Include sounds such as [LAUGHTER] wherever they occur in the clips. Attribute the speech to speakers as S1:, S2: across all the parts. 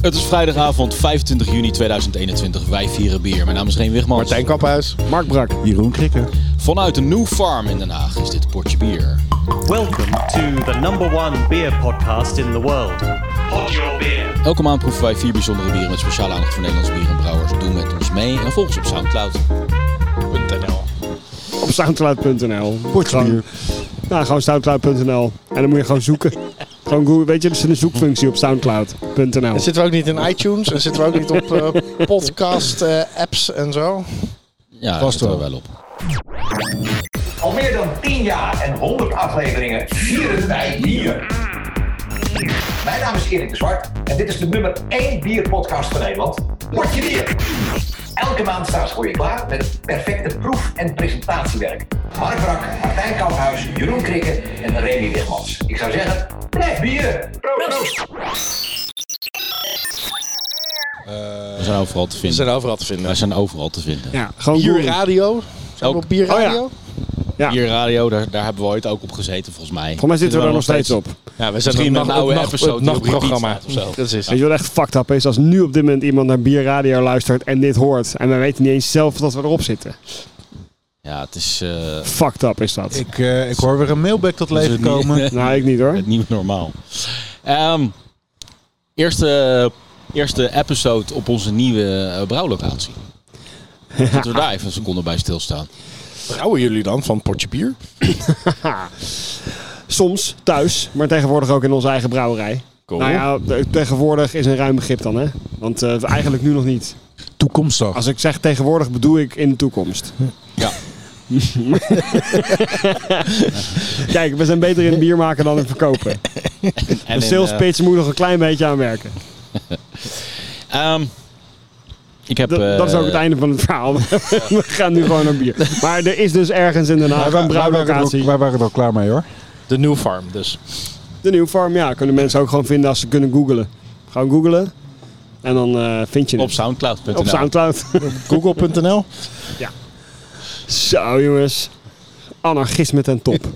S1: Het is vrijdagavond 25 juni 2021. Wij vieren bier. Mijn naam is Reen Wigmans.
S2: Martijn Kamphuis, Mark Brak.
S3: Jeroen Krikke.
S1: Vanuit de New Farm in Den Haag is dit Portje Bier.
S4: Welcome to the number one beer podcast in the world. Pod your beer.
S1: Elke maand proeven wij vier bijzondere bieren met speciale aandacht voor Nederlands bier en brouwers. Doe met ons mee en volg ons op soundcloud.nl.
S2: Op soundcloud.nl.
S3: Portje
S2: Gewoon- Nou, gewoon soundcloud.nl. En dan moet je gewoon zoeken. Gewoon Google, weet je, er zit een zoekfunctie op soundcloud.nl.
S5: En zitten we ook niet in iTunes en zitten we ook niet op eh, podcast eh, apps en zo.
S1: Ja, dat zitten we wel op.
S6: Al meer dan 10 jaar en 100 afleveringen vieren wij bier. Mijn naam is Erik de Zwart en dit is de nummer 1 bierpodcast van Nederland. Potje Bier! Elke maand staan ze voor je klaar met perfecte proef- en presentatiewerk. Mark Brak, Martijn Kamphuis, Jeroen Krikke en Remy Wigmans. Ik zou zeggen, blijf bieren! Proost!
S1: We zijn overal te vinden.
S5: overal te
S1: Wij
S5: vinden.
S1: zijn overal te vinden.
S2: Ja, gewoon
S5: Bier
S2: Google.
S5: radio. Zijn we
S1: Ook.
S5: op bier radio?
S2: Oh
S1: Hier radio, daar, daar hebben we ooit ook op gezeten volgens mij.
S2: Volgens mij zitten we er nog steeds op.
S5: ja. we
S1: Misschien met een oude episode die op repeat
S5: nachtprogramma.
S1: staat of zo.
S5: Dat is
S2: Weet je wat echt fucked up is? Als nu op dit moment iemand naar bierradio luistert en dit hoort. En we weten niet eens zelf dat we erop zitten.
S1: Ja, het is, eh,
S2: Fucked up is dat.
S3: Ik, eh, ik hoor weer een mailback tot leven
S1: het niet-
S2: [LAUGHS]
S3: komen.
S2: Nou, ik niet hoor.
S1: [LAUGHS] het nieuwe normaal. Ehm, eerste, eerste episode op onze nieuwe eh, brouwlocatie. Moeten we daar even een seconde bij stilstaan.
S5: Brouwen jullie dan van potje bier?
S2: Soms thuis, maar tegenwoordig ook in onze eigen brouwerij. Nou ja, de- tegenwoordig is een ruim begrip dan, hè? Want eh, eigenlijk nu nog niet.
S3: Toekomstig.
S2: Als ik zeg tegenwoordig, bedoel ik in de toekomst.
S1: Ja.
S2: Kijk, we zijn beter in bier maken dan in verkopen.
S1: En
S2: De
S1: in,
S2: sales
S1: eh,
S2: pitch moet nog een klein beetje aanwerken.
S1: ehm, ik heb,
S2: Dat, dat is ook het
S1: eh,
S2: einde van het verhaal. [LAUGHS] We gaan nu gewoon naar bier. Maar er is dus ergens in Den Haag een brouwlocatie.
S3: Wij waren er al klaar mee hoor.
S5: De New Farm dus.
S2: De New Farm, ja, kunnen mensen ook gewoon vinden als ze kunnen googlen. Gewoon googlen en dan eh, vind je het.
S1: op soundcloud.nl.
S2: Op Soundcloud.
S3: [LAUGHS]
S5: Google.nl.
S2: Zo jongens. Anarchisme ten top.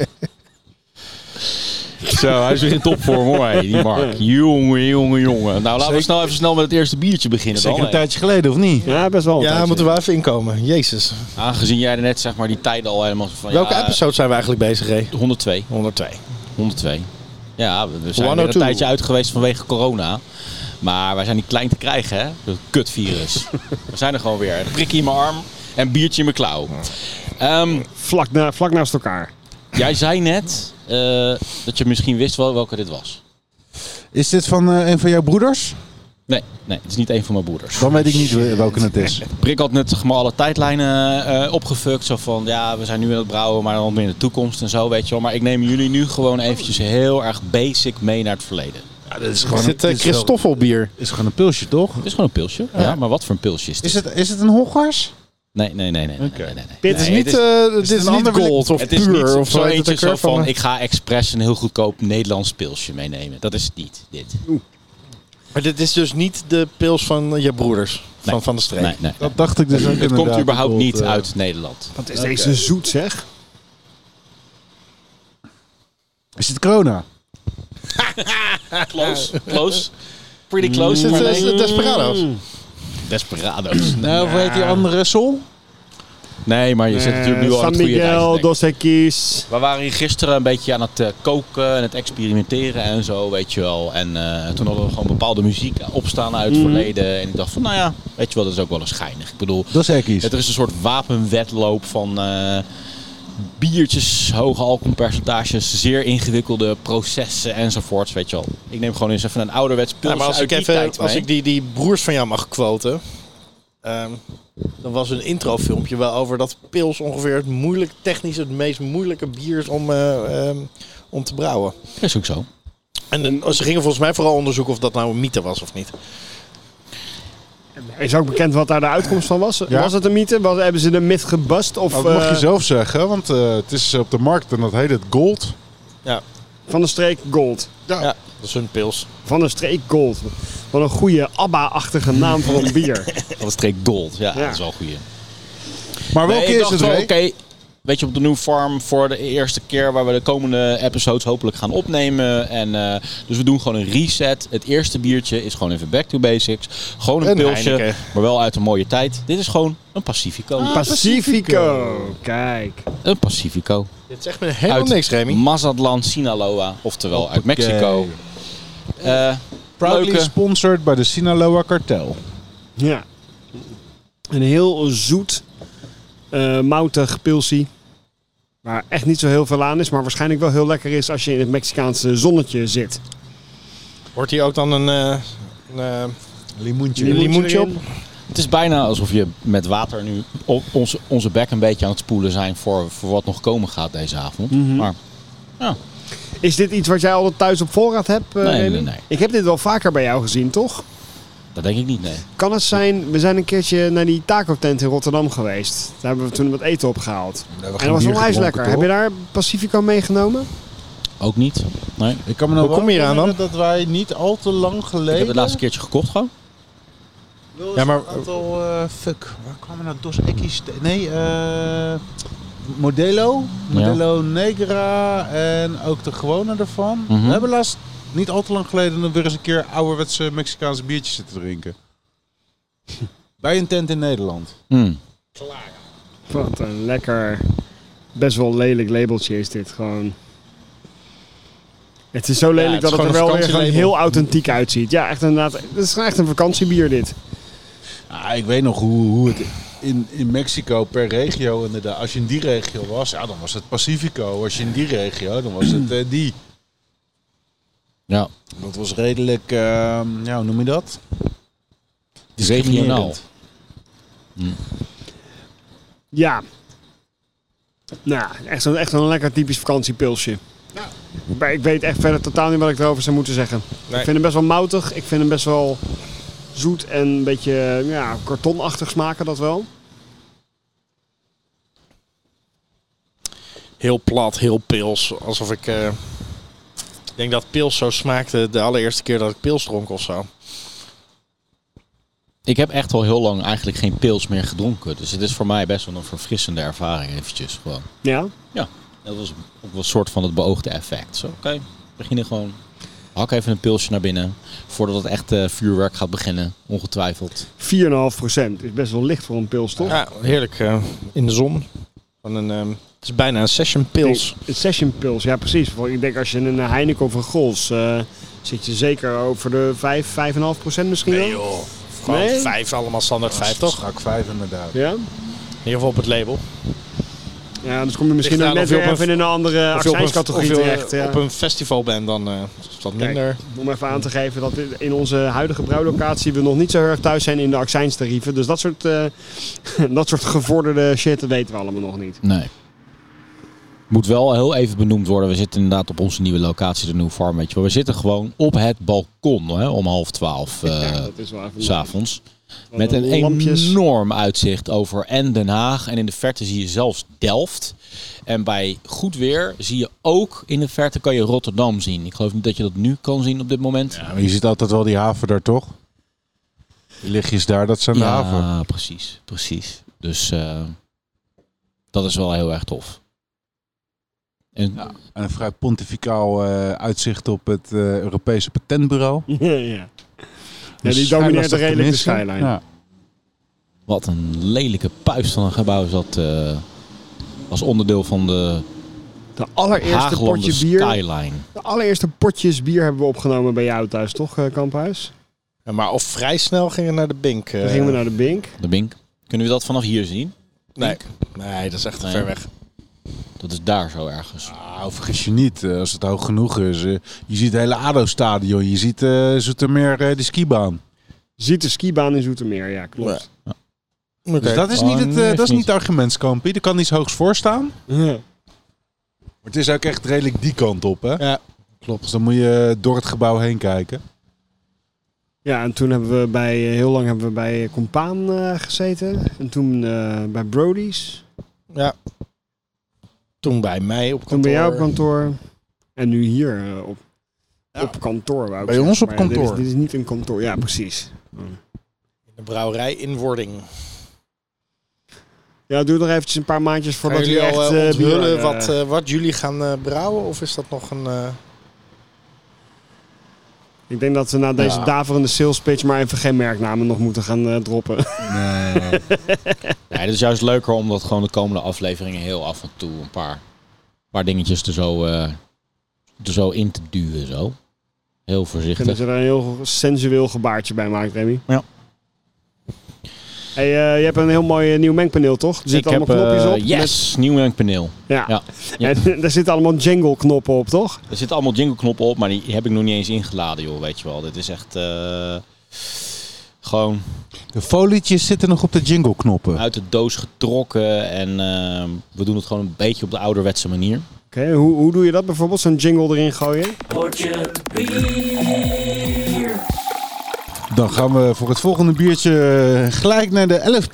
S1: Zo, hij is weer in topvorm hoor, hé, die Mark. Jongen, jongen, jongen. Nou, laten we snel even snel met het eerste biertje beginnen dan.
S3: Zeker een
S1: hé.
S3: tijdje geleden of niet?
S2: Ja, best wel.
S5: Ja, moeten we even inkomen. Jezus.
S1: Aangezien jij er net zeg maar die tijden al helemaal van...
S5: Welke
S1: ja,
S5: episode zijn we eigenlijk bezig, Ray?
S1: 102.
S5: 102.
S1: 102. Ja, we we zijn weer een
S5: 102.
S1: tijdje uit geweest vanwege corona. Maar wij zijn niet klein te krijgen, hè? Dat [LAUGHS] kutvirus. we zijn er gewoon weer. Een prikkie in mijn arm en een biertje in mijn klauw. Ehm,
S2: Vlak, na, vlak naast elkaar.
S1: jij zei net eh, dat je misschien wist wel welke dit was.
S3: Is dit van eh, een van jouw broeders?
S1: Nee, nee, het is niet een van mijn broeders.
S3: Dan weet ik niet wel- welke het is.
S1: Brik had net zeg maar, alle tijdlijnen eh opgefukt. Zo van, ja, we zijn nu aan het brouwen, maar dan weer in de toekomst en zo, weet je wel. Maar ik neem jullie nu gewoon eventjes heel erg basic mee naar het verleden.
S3: Ja, dit is
S5: Is dit eh,
S3: dit is wel-
S5: Christoffelbier?
S3: is gewoon een pilsje toch?
S1: Het is gewoon een pilsje. Ja, maar wat voor een pilsje is dit?
S3: Is het, is het een Hongars?
S1: Nee, nee, nee, nee. nee, nee, nee, nee.
S2: Dit
S5: Het is
S1: Nee,
S5: niet,
S1: het is-
S5: eh, dit
S3: een
S5: is niet
S3: ander wil ik-
S5: gold of
S1: Het is
S5: puur.
S1: niet
S5: of
S1: zo
S5: heet het
S1: eentje
S5: ook weer
S1: zo van,
S5: van, eh,
S1: ik ga expres een heel goedkoop Nederlands pilsje meenemen. Dat is het niet, dit.
S5: Maar dit is dus niet de pils van eh, je broeders. Van,
S1: Nee.
S5: van de streek.
S1: Nee, nee.
S3: Dat dacht ik dus ook
S1: Het komt
S3: inderdaad.
S1: überhaupt
S3: Ik
S1: niet
S3: bedoel, eh,
S1: uit Nederland.
S2: Wat is deze zoet zeg?
S3: Is dit corona?
S1: Close, close. [LAUGHS] Pretty close.
S3: Mm.
S5: Is
S1: maar
S5: het eh, is
S1: nee.
S5: het Desperado's?
S1: Desperado's.
S3: Nou, of heet die andere Sol?
S1: Nee, maar je zit natuurlijk nu al aan
S2: Eh, San
S1: het goede
S2: Miguel,
S1: rijtje, denk ik.
S2: Dos Equis.
S1: We waren hier gisteren een beetje aan het eh, koken en het experimenteren en zo, weet je wel. En eh, toen hadden we gewoon bepaalde muziek opstaan uit
S3: Mm.
S1: het verleden. En ik dacht van, nou ja, weet je wel, dat is ook wel eens geinig. Ik bedoel,
S3: Dat is Ekkies.
S1: Het er is een soort wapenwedloop van eh, biertjes, hoge alcoholpercentages, zeer ingewikkelde processen enzovoorts. Weet je wel. Ik neem gewoon eens even een ouderwets
S5: Ja,
S1: pils
S5: maar als
S1: uit
S5: ik,
S1: die
S5: even,
S1: tijd
S5: als
S1: mee.
S5: ik die, die broers van jou mag quoten. ehm, dan was een introfilmpje wel over dat pils ongeveer het moeilijk, technisch het meest moeilijke bier is om, eh, ehm, om te brouwen.
S1: Is ook zo.
S5: En dan- ze gingen volgens mij vooral onderzoeken of dat nou een mythe was of niet.
S2: Is ook bekend wat daar de uitkomst van was?
S3: Ja.
S2: Was het een mythe? Was, hebben ze de myth gebust? Of
S3: Oh, dat mag je
S2: eh,
S3: zelf zeggen, want eh, het is op de markt en dat heet het Gold.
S2: van de streek Gold?
S5: Ja. dat is hun pils.
S2: Van de streek Gold. Wat een goede ABBA-achtige naam voor
S3: [LAUGHS]
S2: een bier.
S1: Dat is streek gold. Ja,
S2: Ja.
S1: dat is wel een goeie.
S3: Maar
S1: Nee,
S3: welke
S1: ik
S3: is
S1: dacht
S3: het,
S1: wel,
S3: Ray?
S1: Oké, Weet je, op de New Farm voor de eerste keer waar we de komende episodes hopelijk gaan opnemen. En, eh, dus we doen gewoon een reset. Het eerste biertje is gewoon even back to basics. Gewoon een,
S5: Een
S1: pilsje,
S5: Heineken. Ah.
S1: maar wel uit een mooie tijd. Dit is gewoon een Pacifico.
S2: Pacifico. Kijk.
S1: Een Pacifico.
S5: Dit zegt me helemaal
S1: uit
S5: niks, Remy.
S1: Mazatlan, Sinaloa, oftewel uit Mexico. Eh,
S3: Proudly
S1: leuke.
S3: sponsored bij de Sinaloa Kartel.
S2: Ja. Een heel zoet, eh, moutig pilsie. Waar echt niet zo heel veel aan is, maar waarschijnlijk wel heel lekker is als je in het Mexicaanse zonnetje zit.
S5: Wordt hier ook dan een, eh een eh,
S3: Limoentje.
S5: limoentje op?
S2: erin.
S1: Het is bijna alsof je met water nu o- onze, onze bek een beetje aan het spoelen zijn voor, voor wat nog komen gaat deze avond.
S5: Mhm.
S1: Maar
S2: Is dit iets wat jij altijd thuis op voorraad hebt? eh,
S1: Nee,
S2: Remy?
S1: nee, nee.
S2: Ik heb dit wel vaker bij jou gezien, toch?
S1: dat denk ik niet, nee.
S2: Kan het zijn, we zijn een keertje naar die taco-tent in Rotterdam geweest. Daar hebben we toen wat eten opgehaald. En dat was onwijs lekker. Heb je daar Pacifico meegenomen?
S1: Ook niet. Nee.
S3: Ik kan me nog
S5: Hoe
S3: wel
S5: kom je hier aan dan?
S3: herinneren dat wij niet al te lang geleden...
S1: Ik heb het laatste keertje gekocht gewoon.
S3: Ja, maar...
S5: Een aantal,
S3: eh, fuck, waar kwamen nou Dos Equis... te- Nee, eh... Modelo. Modelo Negra en ook de gewone daarvan.
S1: Mhm.
S3: We hebben laatst niet al te lang geleden weer eens een keer ouderwetse Mexicaanse biertjes zitten [LAUGHS] drinken. Bij een tent in Nederland.
S1: Hmm.
S2: Wat een lekker, best wel lelijk labeltje is dit gewoon. Het is zo lelijk
S5: het
S2: dat
S5: is
S2: het er
S5: gewoon
S2: wel
S5: een
S2: weer gewoon
S5: vakantielabel.
S2: heel authentiek uitziet. Ja, echt inderdaad. Het is gewoon echt een vakantiebier dit.
S3: Ah, ik weet nog hoe, hoe het in, in Mexico per regio inderdaad. Als je in die regio was, ja, dan was het Pacifico. Als je in die regio, dan was het eh, die.
S1: Ja,
S3: Dat was redelijk, eh, ja, hoe noem je dat?
S1: regionaal.
S2: Ja. Nou, echt zo'n echt zo'n lekker typisch vakantiepilsje. Maar ik weet echt verder totaal niet wat ik erover zou moeten zeggen.
S5: Nee.
S2: Ik vind hem best wel moutig. Ik vind hem best wel zoet en een beetje ja, kartonachtig smaken dat wel.
S5: Heel plat, heel pils. Alsof ik... eh, ik denk dat pils zo smaakte de allereerste keer dat ik pils dronk of zo.
S1: Ik heb echt al heel lang eigenlijk geen pils meer gedronken. Dus het is voor mij best wel een verfrissende ervaring eventjes gewoon.
S2: Ja.
S1: Ja, dat was ook wel een soort van het beoogde effect. Zo, oké, we beginnen gewoon. Hak even een pilsje naar binnen. Voordat het echt eh, vuurwerk gaat beginnen, ongetwijfeld.
S2: 4,5% is best wel licht voor een pils, toch?
S5: Ja, heerlijk. eh, in de zon. Van een, ehm, het is bijna een session pils.
S2: Een session pils, ja precies. Want ik denk als je een Heineken of een Gols eh, zit je zeker over de 5, 5,5% misschien wel.
S5: joh. Gewoon
S2: Nee? Ah,
S5: vijf, allemaal standaard vijf toch?
S3: Strak vijf inderdaad.
S2: Ja?
S5: In ieder geval op het label.
S2: ja, dus kom je misschien
S5: Ligt eraan
S2: ook net
S5: of je
S2: weer
S5: op een-
S2: even in een andere
S5: Of je op een-
S2: accijnscategorie
S5: of je, eh,
S2: terecht. Ja.
S5: Op een festival bent, dan eh, is dat
S2: Kijk,
S5: minder.
S2: om even aan te geven dat in onze huidige brouwlocatie we nog niet zo heel erg thuis zijn in de accijnstarieven. Dus dat soort, eh, [LAUGHS] dat soort gevorderde shit dat weten we allemaal nog niet.
S1: Nee. Moet wel heel even benoemd worden. We zitten inderdaad op onze nieuwe locatie, de New Farm. Weet je wel. We zitten gewoon op het balkon hè, om half twaalf
S2: ja,
S1: eh
S2: dat is wel even...
S1: s'avonds.
S2: wat
S1: Met een
S2: lampjes.
S1: enorm uitzicht over en Den Haag. En in de verte zie je zelfs Delft. En bij goed weer zie je ook in de verte kan je Rotterdam zien. Ik geloof niet dat je dat nu kan zien op dit moment.
S3: Ja, maar je ziet altijd wel die haven daar toch? Die lichtjes daar, dat zijn de haven.
S1: Ja, precies, precies. Dus eh, dat is wel heel erg tof. En
S3: En een vrij pontificaal eh, uitzicht op het eh, Europese Patentbureau.
S2: [LAUGHS] ja, ja. ja,
S3: Dus
S2: die
S3: skyline
S2: domineert
S3: is toch
S2: redelijk de
S3: tenminste.
S2: skyline.
S3: Ja.
S1: Wat een lelijke puist van een gebouw is dat. eh, als onderdeel van de
S2: De allereerste
S1: Haaglanden
S2: potje bier.
S1: Skyline.
S2: De allereerste potjes bier hebben we opgenomen bij jou thuis, toch, eh, Kamphuis?
S5: Ja, maar of vrij snel gingen we naar de Bink. eh.
S2: Toen gingen we naar de Bink.
S1: De Bink. Kunnen we dat vanaf hier zien?
S5: Nee. nee, dat is echt te
S1: Nee.
S5: ver weg.
S1: Dat is daar zo ergens.
S3: Nou, vergis je niet, eh, als het hoog genoeg is. eh, Je ziet het hele ADO-stadion, je ziet eh Zoetermeer, eh, de skibaan.
S2: Ziet de skibaan in Zoetermeer, ja, klopt.
S5: Oké.
S3: Dus dat is niet het, eh,
S1: oh, nee,
S3: dat is
S1: niet.
S3: niet het argumentskampie. Er kan iets hoogs voor staan. Maar
S2: Ja.
S3: het is ook echt redelijk die kant op, hè?
S5: Ja,
S3: klopt. Dus dan moet je door het gebouw heen kijken.
S2: Ja, en toen hebben we bij, eh, heel lang hebben we bij Compaan eh, gezeten. En toen eh, bij Brody's.
S5: ja. Toen bij mij op kantoor.
S2: Toen bij jou op kantoor. En nu hier eh, op, op kantoor. wou ik
S3: Bij
S2: zeggen.
S3: ons op
S2: Maar ja, dit is-
S3: kantoor.
S2: Dit is, niet een kantoor, ja, precies.
S5: De brouwerij in wording.
S2: Ja, doe nog eventjes een paar maandjes voordat
S5: Gaan
S2: we
S5: jullie
S2: echt
S5: al
S2: eh,
S5: eh, onthullen
S2: bier-
S5: wat,
S2: eh,
S5: eh, wat jullie gaan eh, brouwen? Of is dat nog een... eh,
S2: ik denk dat we na deze daverende sales pitch maar even geen merknamen nog moeten gaan eh, droppen.
S1: Ja, het is juist leuker om dat gewoon de komende afleveringen heel af en toe een paar, paar dingetjes er zo, eh, er zo in te duwen. Zo. Heel
S2: Ik vind
S1: voorzichtig.
S2: dat je daar een heel sensueel gebaartje bij maakt, Remy.
S1: Ja.
S2: Hey, eh, je hebt een heel mooi eh, nieuw mengpaneel, toch? Er zitten allemaal
S1: eh,
S2: knopjes op. met-
S1: yes, nieuw mengpaneel.
S2: ja.
S1: Ja. Ja.
S2: [LAUGHS] En daar zitten allemaal jingle knoppen op, toch?
S1: Er zitten allemaal jingleknoppen op, maar die heb ik nog niet eens ingeladen, joh. Weet je wel, dit is echt eh, gewoon
S3: De folietjes zitten nog op de jingle knoppen.
S1: uit de doos getrokken. En eh, we doen het gewoon een beetje op de ouderwetse manier.
S2: Oké, hoe, hoe doe je dat bijvoorbeeld? Zo'n jingle erin gooien?
S3: Dan gaan we voor het volgende biertje eh, gelijk naar de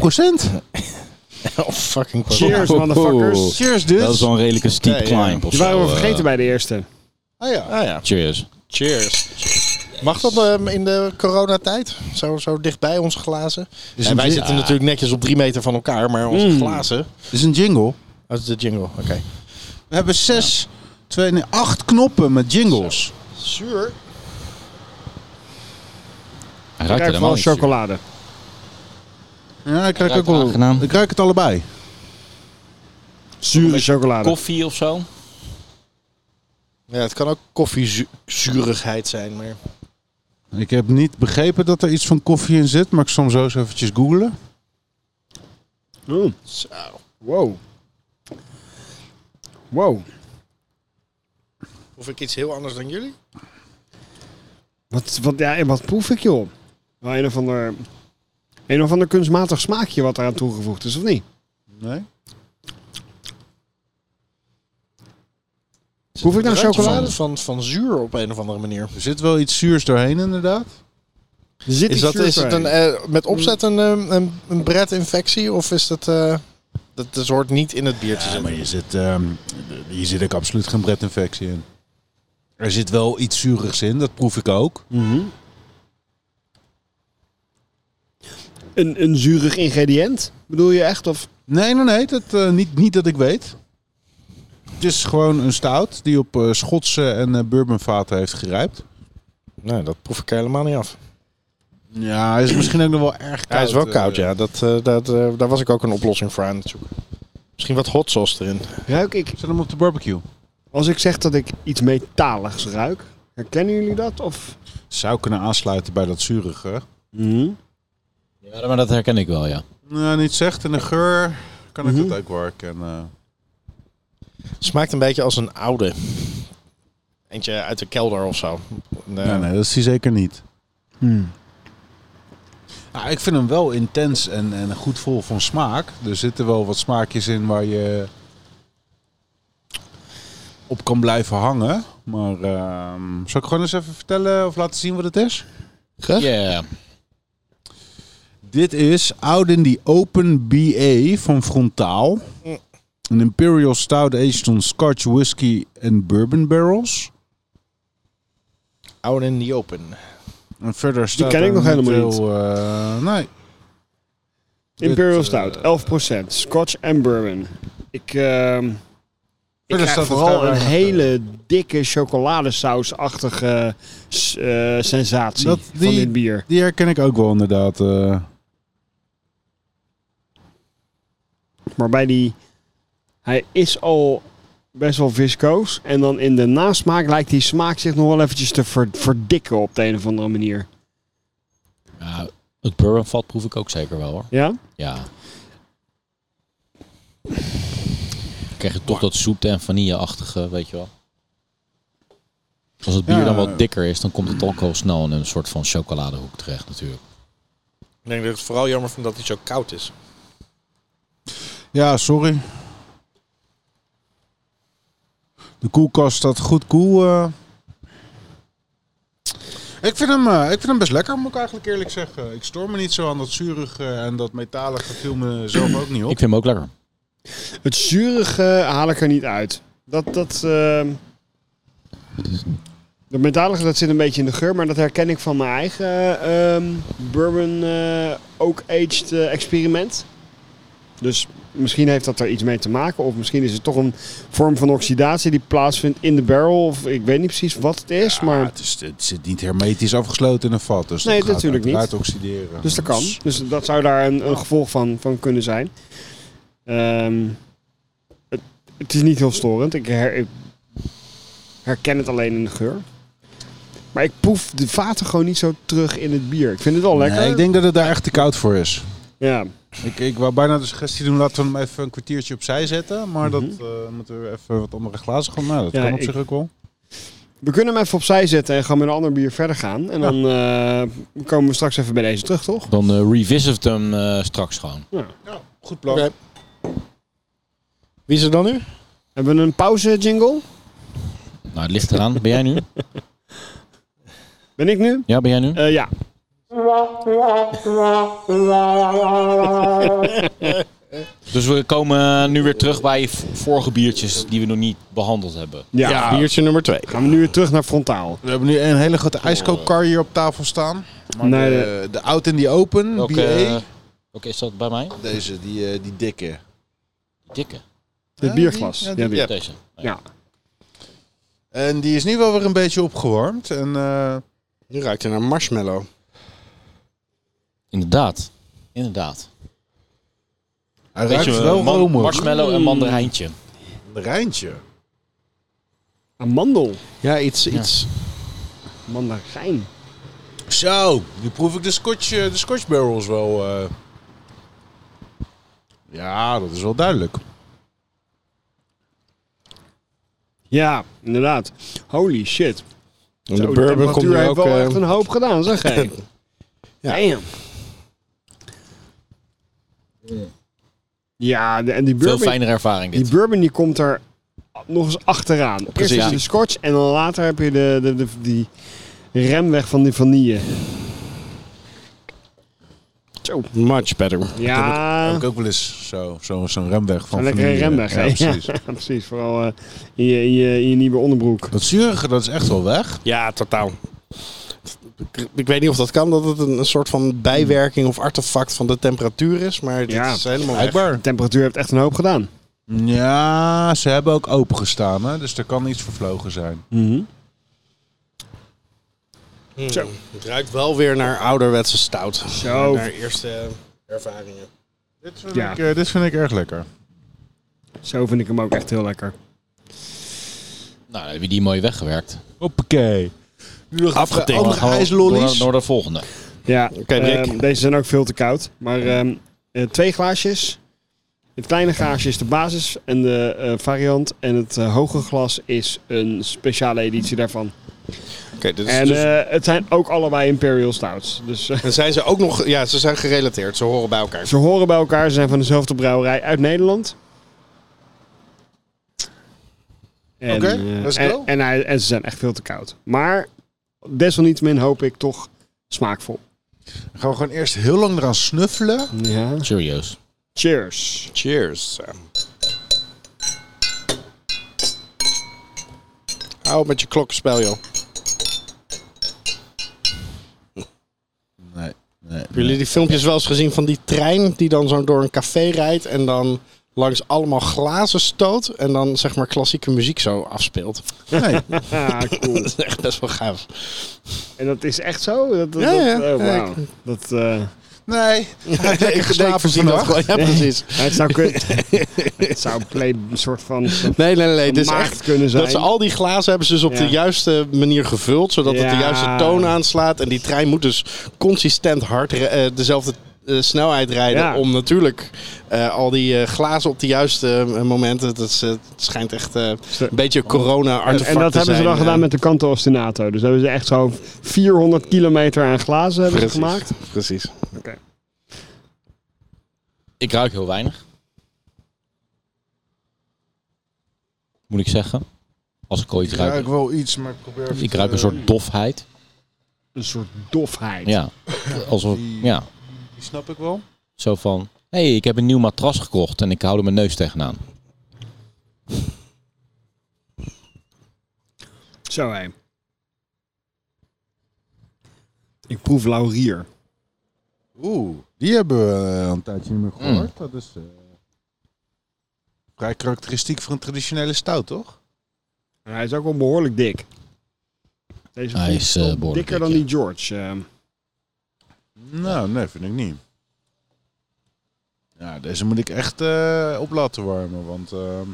S3: 11%.
S5: oh, fucking
S2: Cheers, motherfuckers.
S3: Cheers dus.
S1: Dat is wel een redelijke steep
S5: Ja, ja.
S1: climb. of
S2: Die
S1: zo,
S2: waren we
S1: eh.
S2: vergeten bij de eerste.
S5: Ah ja. Ah, ja.
S1: Cheers.
S5: Cheers. Mag dat ehm, in de coronatijd? Zo, zo dicht bij ons glazen.
S3: Dus
S5: en
S3: een
S5: wij
S3: gin-
S5: zitten natuurlijk netjes op drie meter van elkaar, maar onze glazen...
S3: Dit is een jingle.
S5: Dat is de jingle, oké.
S3: We hebben zes, twee, nee, acht knoppen met jingles.
S5: Zuur.
S1: Hij
S2: Ik
S1: ruikt
S2: krijg
S1: helemaal
S2: vooral
S1: niet zuur.
S2: chocolade.
S3: Ja, ik ruik
S1: Ruikt
S3: ook wel.
S1: aangenaam.
S3: Ik ruik het allebei.
S2: Zure chocolade.
S1: Koffie of zo?
S5: Ja, het kan ook koffiezurigheid zijn, maar...
S3: Ik heb niet begrepen dat er iets van koffie in zit, maar ik zal hem zo eens eventjes googlen.
S2: Mm. Wow. Wow.
S5: Of ik iets heel anders dan jullie?
S2: Wat, wat, ja, en wat proef ik, joh? Wel een of ander, een of ander kunstmatig smaakje wat eraan toegevoegd is, of niet?
S3: Nee.
S2: Proef ik nou chocolade?
S5: Van, van, van zuur op een of andere manier.
S3: Er zit wel iets zuurs doorheen inderdaad.
S2: Er Zit
S5: Is,
S2: iets
S5: dat,
S2: zuurs
S5: is het een,
S2: doorheen.
S5: eh, met opzet een, ehm, een, een breadinfectie of is dat... eh, dat, dat hoort niet in het bier te
S3: Ja,
S5: zitten.
S3: maar je zit, ehm, hier zit ook absoluut geen breadinfectie in. Er zit wel iets zuurigs in, dat proef ik ook.
S2: een, een zuurig ingrediënt? Bedoel je echt? Of
S3: Nee, nee, nee, dat, eh, niet, niet dat ik weet. Het is gewoon een stout die op eh, Schotse en eh bourbonvaten heeft gerijpt.
S5: Nee, dat proef ik helemaal niet af.
S3: Ja, hij is misschien ook nog wel erg koud.
S5: Hij is wel
S3: eh.
S5: koud, ja. Dat, eh, dat, eh, daar was ik ook een oplossing voor aan het zoeken. Misschien wat hot sauce erin.
S2: ruik ik,
S3: Zet hem op de barbecue.
S2: als ik zeg dat ik iets metaligs ruik, herkennen jullie dat? Of?
S3: Zou kunnen aansluiten bij dat zurige.
S5: Mhm.
S1: Ja, maar dat herken ik wel, ja.
S3: Nou, niet zegt. En de geur kan ik dat ook werken. eh.
S5: Smaakt een beetje als een oude. Eentje uit de kelder of zo. eh, Nee.
S3: Nee, nee, dat is hij zeker niet.
S2: Hmm.
S3: Nou, ik vind hem wel intens en, en goed vol van smaak. Er zitten wel wat smaakjes in waar je op kan blijven hangen. Maar ehm, zal ik gewoon eens even vertellen of laten zien wat het is?
S1: Ja.
S3: Dit is Ouden die Open BA van Frontaal. Een Imperial Stout aged on Scotch Whisky en Bourbon Barrels.
S5: Oude in the open.
S3: En verder staat
S2: ken ik
S3: er
S2: nog helemaal niet.
S3: veel, eh, nee.
S2: Imperial
S3: Dit,
S2: Stout,
S1: eh,
S2: 11%. Scotch en bourbon. Ik, ehm ik
S3: Verder staat
S2: krijg
S3: het
S2: vooral
S3: daar eh,
S2: een
S3: eigenlijk,
S2: hele dikke chocoladesausachtige s- eh, sensatie
S3: Dat-
S2: van
S3: die-
S2: dit bier.
S3: Die herken ik ook wel inderdaad. eh.
S2: Maar bij die... Hij is al best wel viscoos. En dan in de nasmaak lijkt die smaak zich nog wel eventjes te ver- verdikken op de een of andere manier.
S1: Ja, het bourbonvat proef ik ook zeker wel, hoor.
S2: Ja?
S1: Ja. Dan krijg je toch dat zoete en vanille-achtige, weet je wel. Als het bier
S3: Ja.
S1: dan wat dikker is, dan komt het ook al snel in een soort van chocoladehoek terecht natuurlijk.
S5: Ik denk dat ik het vooral jammer vind dat hij zo koud is.
S3: ja, sorry. De koelkast staat goed koel. eh. Ik, vind hem, eh, ik vind hem best lekker, moet ik eigenlijk eerlijk zeggen. Ik stoor me niet zo aan dat zurige en dat metalige viel me zelf ook niet op.
S1: Ik vind hem ook lekker.
S2: Het zurige haal ik er niet uit. Dat, dat, ehm dat metalige dat zit een beetje in de geur, maar dat herken ik van mijn eigen ehm, bourbon eh oak aged eh, experiment. Dus misschien heeft dat er iets mee te maken. Of misschien is het toch een vorm van oxidatie die plaatsvindt in de barrel. Of ik weet niet precies wat het is.
S3: Ja,
S2: maar,
S3: het, is, het zit niet hermetisch afgesloten in een vat. Dus
S2: Nee,
S3: dat gaat
S2: natuurlijk niet.
S3: uiteraard oxideren.
S2: dus dat kan. Dus dat zou daar een, een gevolg van, van kunnen zijn. Ehm, het, het is niet heel storend. Ik, her- ik herken het alleen in de geur. Maar ik proef de vaten gewoon niet zo terug in het bier. Ik vind het wel lekker.
S3: Nee, ik denk dat het daar echt te koud voor is.
S2: Ja.
S3: Ik, ik wou bijna de suggestie doen, laten we hem even een kwartiertje opzij zetten. Maar dat eh, moeten we even wat andere glazen gaan. Nou, dat
S2: Ja,
S3: kan op
S2: ik-
S3: zich ook wel.
S2: We kunnen hem even opzij zetten en gewoon met een ander bier verder gaan. En dan eh, komen we straks even bij deze terug, toch?
S1: Dan eh, revisit hem eh, straks gewoon.
S3: Goed plan.
S5: Oké. Wie is er dan nu?
S2: Hebben we een pauze jingle?
S1: Nou, het ligt eraan. Ben jij nu?
S2: Ben ik nu?
S1: Ja, ben jij nu?
S2: Eh, ja.
S1: Dus we komen eh, nu weer terug bij v- vorige biertjes die we nog niet behandeld hebben.
S2: ja.
S5: Biertje nummer twee.
S2: Gaan we nu weer terug naar frontaal.
S3: We hebben nu een hele grote ijskookcar hier op tafel staan. Maar
S2: Nee,
S3: de, de Out in the Open,
S1: Welke,
S3: BA,
S1: eh, welke is dat bij mij?
S3: deze, die, eh, die dikke.
S1: Dikke.
S2: Dit
S3: Ja,
S2: bierglas.
S3: die-
S2: Ja,
S3: ja, die-
S2: die.
S3: ja.
S1: Deze.
S2: Ja.
S3: En die is nu wel weer een beetje opgewarmd. En eh,
S5: Nu ruikt hij naar marshmallow.
S1: Inderdaad. Inderdaad.
S3: hij
S1: Weet
S3: ruikt
S1: je,
S3: wel
S1: man-
S3: romig. Mm.
S1: marshmallow en mandarijntje.
S3: Een Rijntje.
S2: Amandel.
S5: Ja, iets, iets.
S2: Mandarijn.
S3: Zo, nu proef ik de scotch, eh, de scotch barrels wel. eh. Ja, dat is wel duidelijk.
S2: Ja, inderdaad. Holy shit.
S5: En de
S2: Zo,
S5: bourbon komt
S2: temperatuur
S5: nu
S2: heeft
S5: ook.
S2: wel
S5: eh,
S2: echt een hoop
S5: [LAUGHS]
S2: gedaan, zeg jij.
S5: Ja.
S2: Damn. Ja, de- en die
S1: Veel
S2: bourbon,
S1: fijnere ervaring
S2: die
S1: dit.
S2: bourbon die komt er nog eens achteraan. Eerst
S1: Precies,
S2: is
S1: ja.
S2: de scotch en dan later heb je de, de, de- die remweg van die vanille. Zo.
S5: Much better.
S2: Ja,
S3: Heb ik ook wel eens zo- zo- zo'n remweg van
S2: een lekkere
S3: vanille.
S2: remweg. hè? [LAUGHS]
S3: Ja, precies.
S2: Ja, precies. Vooral eh, in, je, in, je, in je nieuwe onderbroek.
S3: Dat zurige, dat is echt wel weg.
S5: Ja, totaal. Ik- Ik weet niet of dat kan, dat het een, een soort van bijwerking of artefact van de temperatuur is, maar dit
S2: Ja,
S5: is helemaal weg.
S3: Blijkbaar.
S2: De temperatuur heeft echt een hoop gedaan.
S3: Ja, ze hebben ook opengestaan, hè? dus er kan iets vervlogen zijn.
S5: Zo. Het ruikt wel weer naar ouderwetse stout.
S2: Zo.
S5: Naar eerste eh, ervaringen.
S3: Dit vind,
S2: Ja.
S3: ik, eh, dit vind ik erg lekker.
S2: Zo vind ik hem ook echt heel lekker.
S1: Nou, dan heb je die mooi weggewerkt.
S3: Hoppakee. Nu nog
S5: Afgetikt.
S3: Andere
S1: Gaan we door,
S3: ijslollies.
S1: naar- door de volgende.
S2: Ja,
S5: Oké, Rick.
S2: ehm, deze zijn ook veel te koud. Maar ehm, eh, twee glaasjes. Het kleine glaasje is de basis en de eh, variant. En het eh, hoge glas is een speciale editie daarvan.
S5: Oké, dit is
S2: en
S5: dus-
S2: eh, het zijn ook allebei Imperial Stouts. Dus [LAUGHS] eh,
S5: en zijn ze ook nog, ja, ze zijn gerelateerd, ze horen bij [LAUGHS] elkaar.
S2: ze horen bij elkaar. Ze zijn van dezelfde brouwerij uit Nederland. En,
S3: Oké,
S2: eh,
S3: let's
S2: en,
S3: go.
S2: en, hij- en ze zijn echt veel te koud. Maar desalniettemin hoop ik toch smaakvol.
S3: Dan gaan we gewoon eerst heel lang eraan snuffelen.
S2: Ja.
S1: Cheerios.
S2: Cheers.
S5: Cheers. Hou op met je klokspel, joh.
S3: Nee, nee.
S5: Hebben jullie die filmpjes wel eens gezien van die trein die dan zo door een café rijdt en dan langs allemaal glazen stoot en dan zeg maar klassieke muziek zo afspeelt? [LAUGHS]
S3: nee.
S2: Ah, cool.
S5: Dat is echt best wel gaaf.
S2: En dat is echt zo? Dat, dat,
S5: Ja, ja.
S2: dat- oh,
S5: Ja,
S2: wauw. Dat, eh,
S3: Nee, hij heeft
S5: Nee,
S3: lekker geslapen
S5: verzin dat
S3: vannacht.
S5: gewoon. Ja, precies.
S2: het zou kun-
S5: [LAUGHS]
S2: het zou een play, een soort van...
S5: Nee, nee, nee. Dit is
S2: Gemaakt
S5: echt
S2: kunnen zijn.
S5: Dat ze al die glazen hebben ze dus op
S2: Ja.
S5: de juiste manier gevuld, zodat het de
S2: Ja.
S5: juiste toon aanslaat. En die trein moet dus consistent hard re- eh, dezelfde eh, snelheid rijden
S2: Ja.
S5: om natuurlijk eh, al die eh, glazen op de juiste eh, momenten. Dat is, eh, het schijnt echt eh, een beetje corona artefact
S2: En dat
S5: te
S2: hebben ze
S5: zijn,
S2: dan
S5: eh.
S2: gedaan met de Canto Ostinato. Dus hebben ze echt zo 400 kilometer aan glazen hebben ze
S5: Precies.
S2: gemaakt.
S5: Precies.
S1: Ik ruik heel weinig. Moet ik zeggen. Als ik ooit
S3: Ik ruik
S1: ruik.
S3: wel iets, maar ik probeer... even eh,
S1: Ik ruik een
S3: te-
S1: soort dofheid.
S2: Een soort dofheid.
S1: Ja. Alsof, ja.
S3: Die snap ik wel.
S1: Zo van, hé, hey, ik heb een nieuw matras gekocht en ik hou er mijn neus tegenaan.
S2: Zo hé. Ik proef laurier.
S1: Mm.
S3: Oeh, die hebben we eh, een tijdje niet meer gehoord. Dat is... eh, Vrij karakteristiek voor een traditionele stout, toch?
S2: En hij is ook wel behoorlijk dik. Deze
S1: Hij
S2: vond ik
S1: is,
S2: wel
S1: eh, behoorlijk
S2: dikker
S1: dik,
S2: dan
S1: ja.
S2: die George. ehm.
S3: Nou, nee, vind ik niet. Ja, deze moet ik echt eh, op laten warmen, want ehm,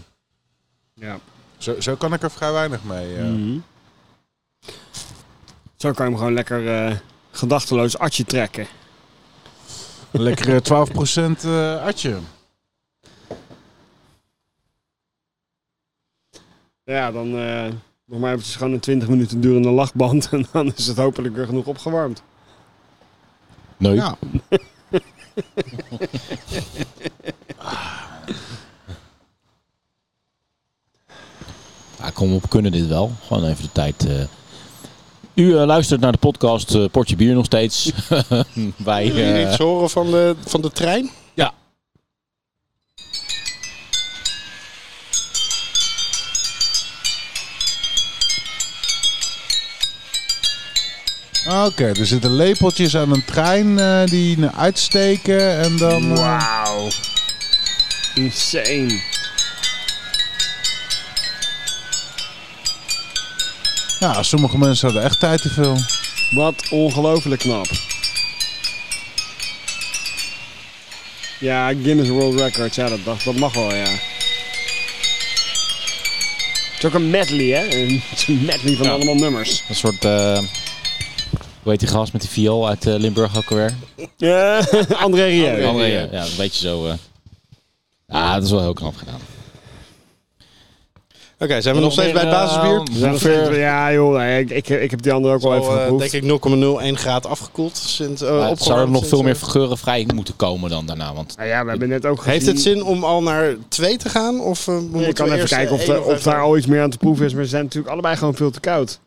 S2: ja.
S3: zo, zo kan ik er vrij weinig mee. eh.
S2: Mhm. Zo kan je hem gewoon lekker eh, gedachteloos atje trekken.
S3: Een Lekkere 12% eh atje.
S2: Ja, dan eh, nog maar eventjes gewoon een 20 minuten durende lachband. [LAUGHS] En dan is het hopelijk weer genoeg opgewarmd.
S1: Nee.
S5: Nou.
S1: [LAUGHS]
S3: Ja.
S1: Ja, Ah, kom op, kunnen dit wel. Gewoon even de tijd. eh. U eh, luistert naar de podcast eh, Portje Bier nog steeds. [LAUGHS] Wij,
S5: Jullie
S1: eh,
S5: niks horen van de, van de trein?
S1: ja.
S3: Ah, Oké, er zitten lepeltjes aan een trein eh, die naar uitsteken en dan... eh,
S2: Wauw. Insane.
S3: ja, sommige mensen hadden echt tijd te veel.
S2: Wat ongelooflijk knap. Ja, Guinness World Records, ja, dat, dat, dat mag wel, ja. Het is ook een medley, hè? [LAUGHS] Een het is een medley van
S1: Ja.
S2: allemaal nummers.
S1: Een soort. eh hoe heet die gast met die viool uit eh, Limburg ook alweer?
S2: Ja, [LAUGHS] André Rieu.
S1: Oh, ja, ja, een beetje zo. eh. Ja, dat is wel heel knap gedaan.
S5: Oké, zijn we nog steeds bij het
S1: eh,
S5: basisbier?
S2: Ja, dat vind ik- ja, joh, nee, ik, ik, ik heb die andere ook al
S5: Al,
S2: even
S5: eh,
S2: geproefd.
S5: denk ik 0,01 graad afgekoeld. Sinds, eh,
S1: Maar het zou
S5: opgewarmd
S1: er nog
S5: sinds,
S1: veel meer
S5: eh,
S1: geurenvrij moeten komen dan daarna. Want
S2: Nou ja, we hebben net ook gezien...
S5: Heeft het zin om al naar 2 te gaan? Of, eh, moeten
S2: Ik
S5: we
S2: kan even
S5: eerst, eh,
S2: kijken of,
S5: één
S2: er- of daar al iets meer aan te proeven is. Maar ze zijn natuurlijk allebei gewoon veel te koud.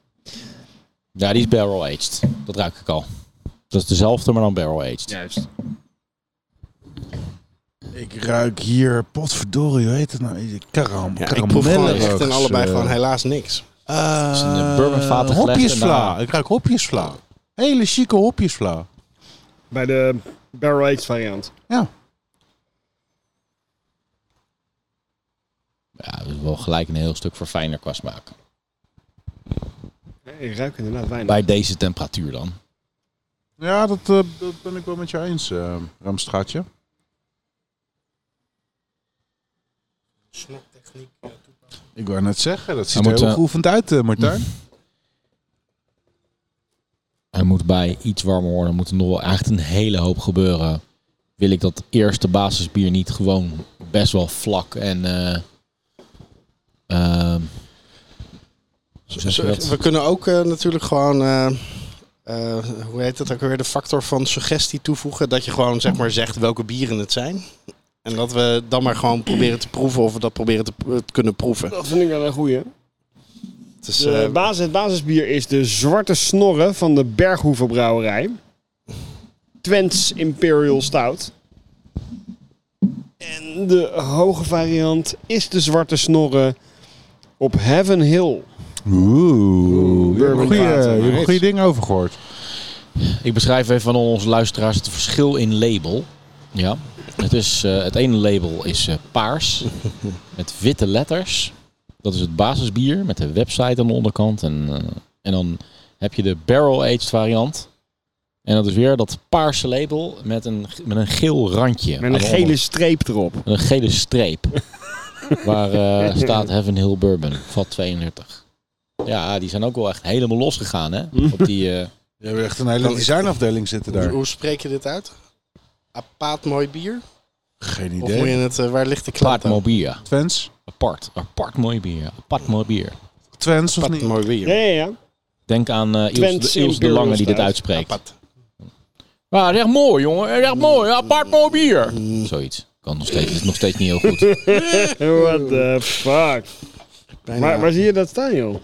S1: ja, die is barrel aged. Dat ruik ik al. Dat is dezelfde, maar dan barrel aged.
S2: Juist.
S3: Ik ruik hier, potverdorie, hoe heet het nou? Karam,
S5: Ja, ik proef gewoon echt en
S2: eh,
S5: allebei gewoon helaas niks.
S1: is een, eh, bourbonvaten gelegd en
S3: Hopjesvla,
S1: daarna-
S3: ik ruik hopjesvla. Hele chique hopjesvla.
S2: Bij de barrel aged variant.
S3: Ja.
S1: Ja, dat is wel gelijk een heel stuk verfijner qua smaak.
S2: Ik ruik inderdaad weinig.
S1: Bij deze temperatuur dan.
S3: Ja, dat, eh, dat ben ik wel met je eens, eh, Ramstraatje.
S5: Snoktechniek.
S3: Ik wou net zeggen, dat
S1: Hij
S3: ziet er
S1: moet,
S3: heel
S1: eh,
S3: geoefend uit, eh, Martijn.
S1: Hij moet bij iets warmer worden. Er moet nog wel echt een hele hoop gebeuren. Wil ik dat eerste basisbier niet gewoon best wel vlak en... eh ehm, hoe zeg je dat?
S5: We kunnen ook Dus, eh, natuurlijk gewoon, eh, eh, hoe heet het ook weer, de factor van suggestie toevoegen. Dat je gewoon zeg maar zegt welke bieren het zijn. En dat we dan maar gewoon proberen te proeven of we dat proberen te het kunnen proeven.
S2: Dat vind ik wel een goeie.
S5: Het is,
S2: De
S5: eh,
S2: basis, het basisbier is de Zwarte Snorren van de Berghoeven Brouwerij. Twents Imperial Stout. En de hoge variant is de Zwarte Snorren op Heaven Hill.
S3: Oeh, je hebt een
S2: bourbon
S3: goeie-
S2: water,
S3: je hebt
S2: maar
S3: een goede ding over gehoord.
S1: Ik beschrijf even aan onze luisteraars het verschil in label. Ja. Het, is, eh, het ene label is eh, paars met witte letters. Dat is het basisbier met de website aan de onderkant. En, eh, en dan heb je de barrel-aged variant. En dat is weer dat paarse label met een, met een geel randje.
S2: Met een
S1: aan de
S2: gele
S1: onder-
S2: streep erop.
S1: met een gele streep.
S2: [LAUGHS]
S1: waar eh, staat Heaven Hill Bourbon, vat 32. Ja, die zijn ook wel echt helemaal losgegaan hè.
S2: Mm.
S1: Op die... eh,
S3: Je hebt echt een hele
S5: Dan-
S3: designafdeling zitten
S5: hoe,
S3: daar.
S5: hoe spreek je dit uit? Apaat mooi bier?
S3: Geen
S5: Of moet je
S3: idee.
S5: het, eh, waar ligt de klaar?
S1: Paard Mobia.
S3: Twents?
S1: Apart. Apart mooi bier. Apart mooi bier.
S3: Twents of niet?
S5: mooi
S2: Ja,
S5: bier.
S2: ja, ja.
S1: Denk aan eh Iels,
S2: Twents
S1: de, Iels de
S2: Imperial
S1: Lange die dit
S2: Stout.
S1: uitspreekt.
S5: Apaat.
S1: Ja, dat is echt mooi, jongen. Dat is echt mooi. Apart mooi bier.
S2: Mm.
S1: Zoiets. Kan nog steeds. Is nog steeds niet
S2: [LAUGHS]
S1: heel goed.
S2: What the fuck.
S5: Bijna.
S2: Maar, waar zie je dat staan, joh?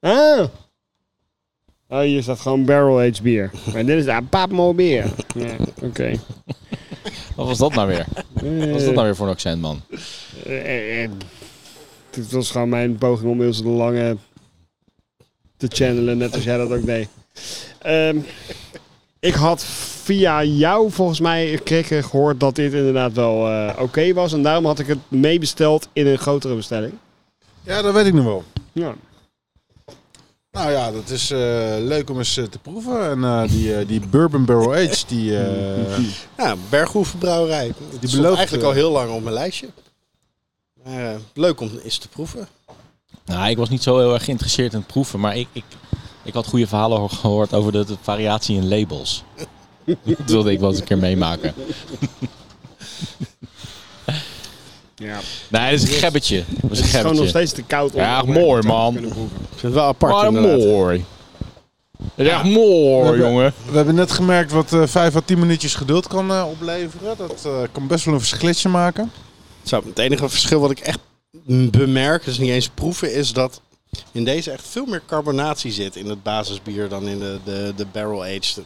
S2: Ah. Oh, hier staat gewoon barrel-aged bier. Maar dit is een paapmo bier. Ja, Oké.
S1: Wat was dat nou weer? Wat was dat nou weer voor een accent, man?
S2: Eh, eh, Dit was gewoon mijn poging om Ilse de Lange te channelen, net als jij dat ook deed. Ehm, Ik had via jou volgens mij kreeg ik gehoord dat dit inderdaad wel eh, oké was. En daarom had ik het meebesteld in een grotere bestelling.
S3: Ja, dat weet ik nog wel.
S2: Ja.
S3: Nou ja, dat is eh, leuk om eens eh, te proeven. En eh, die, eh, die Bourbon Barrel Age, die... [LAUGHS] eh,
S5: Ja, Berghoevenbrouwerij. Die
S3: belooft,
S5: belooft eigenlijk
S3: eh,
S5: al heel lang op mijn lijstje. Maar, eh, leuk om eens te proeven.
S1: Nou, ik was niet zo heel erg geïnteresseerd in het proeven, maar ik, ik, ik had goede verhalen ho- gehoord over de, de variatie in labels. [LAUGHS] dat wilde ik wel eens een keer meemaken.
S2: ja.
S1: Nee, dat is een gebbetje. Dat is
S2: Het
S1: een
S2: is gewoon nog
S1: gebbetje.
S2: steeds te koud om
S1: Ja,
S2: om
S1: mooi,
S2: echt te
S1: man.
S2: kunnen proeven.
S5: Ik vind het wel apart
S1: Maar
S5: inderdaad.
S1: Oh, mooi. Dat is echt mooi, jongen.
S3: We hebben net gemerkt wat eh 5 à 10 minuutjes geduld kan eh, opleveren. Dat eh, kan best wel een verschilletje maken.
S5: Zo, het enige verschil wat ik echt bemerk, dus niet eens proeven, is dat in deze echt veel meer carbonatie zit in het basisbier dan in de, de, de barrel aged.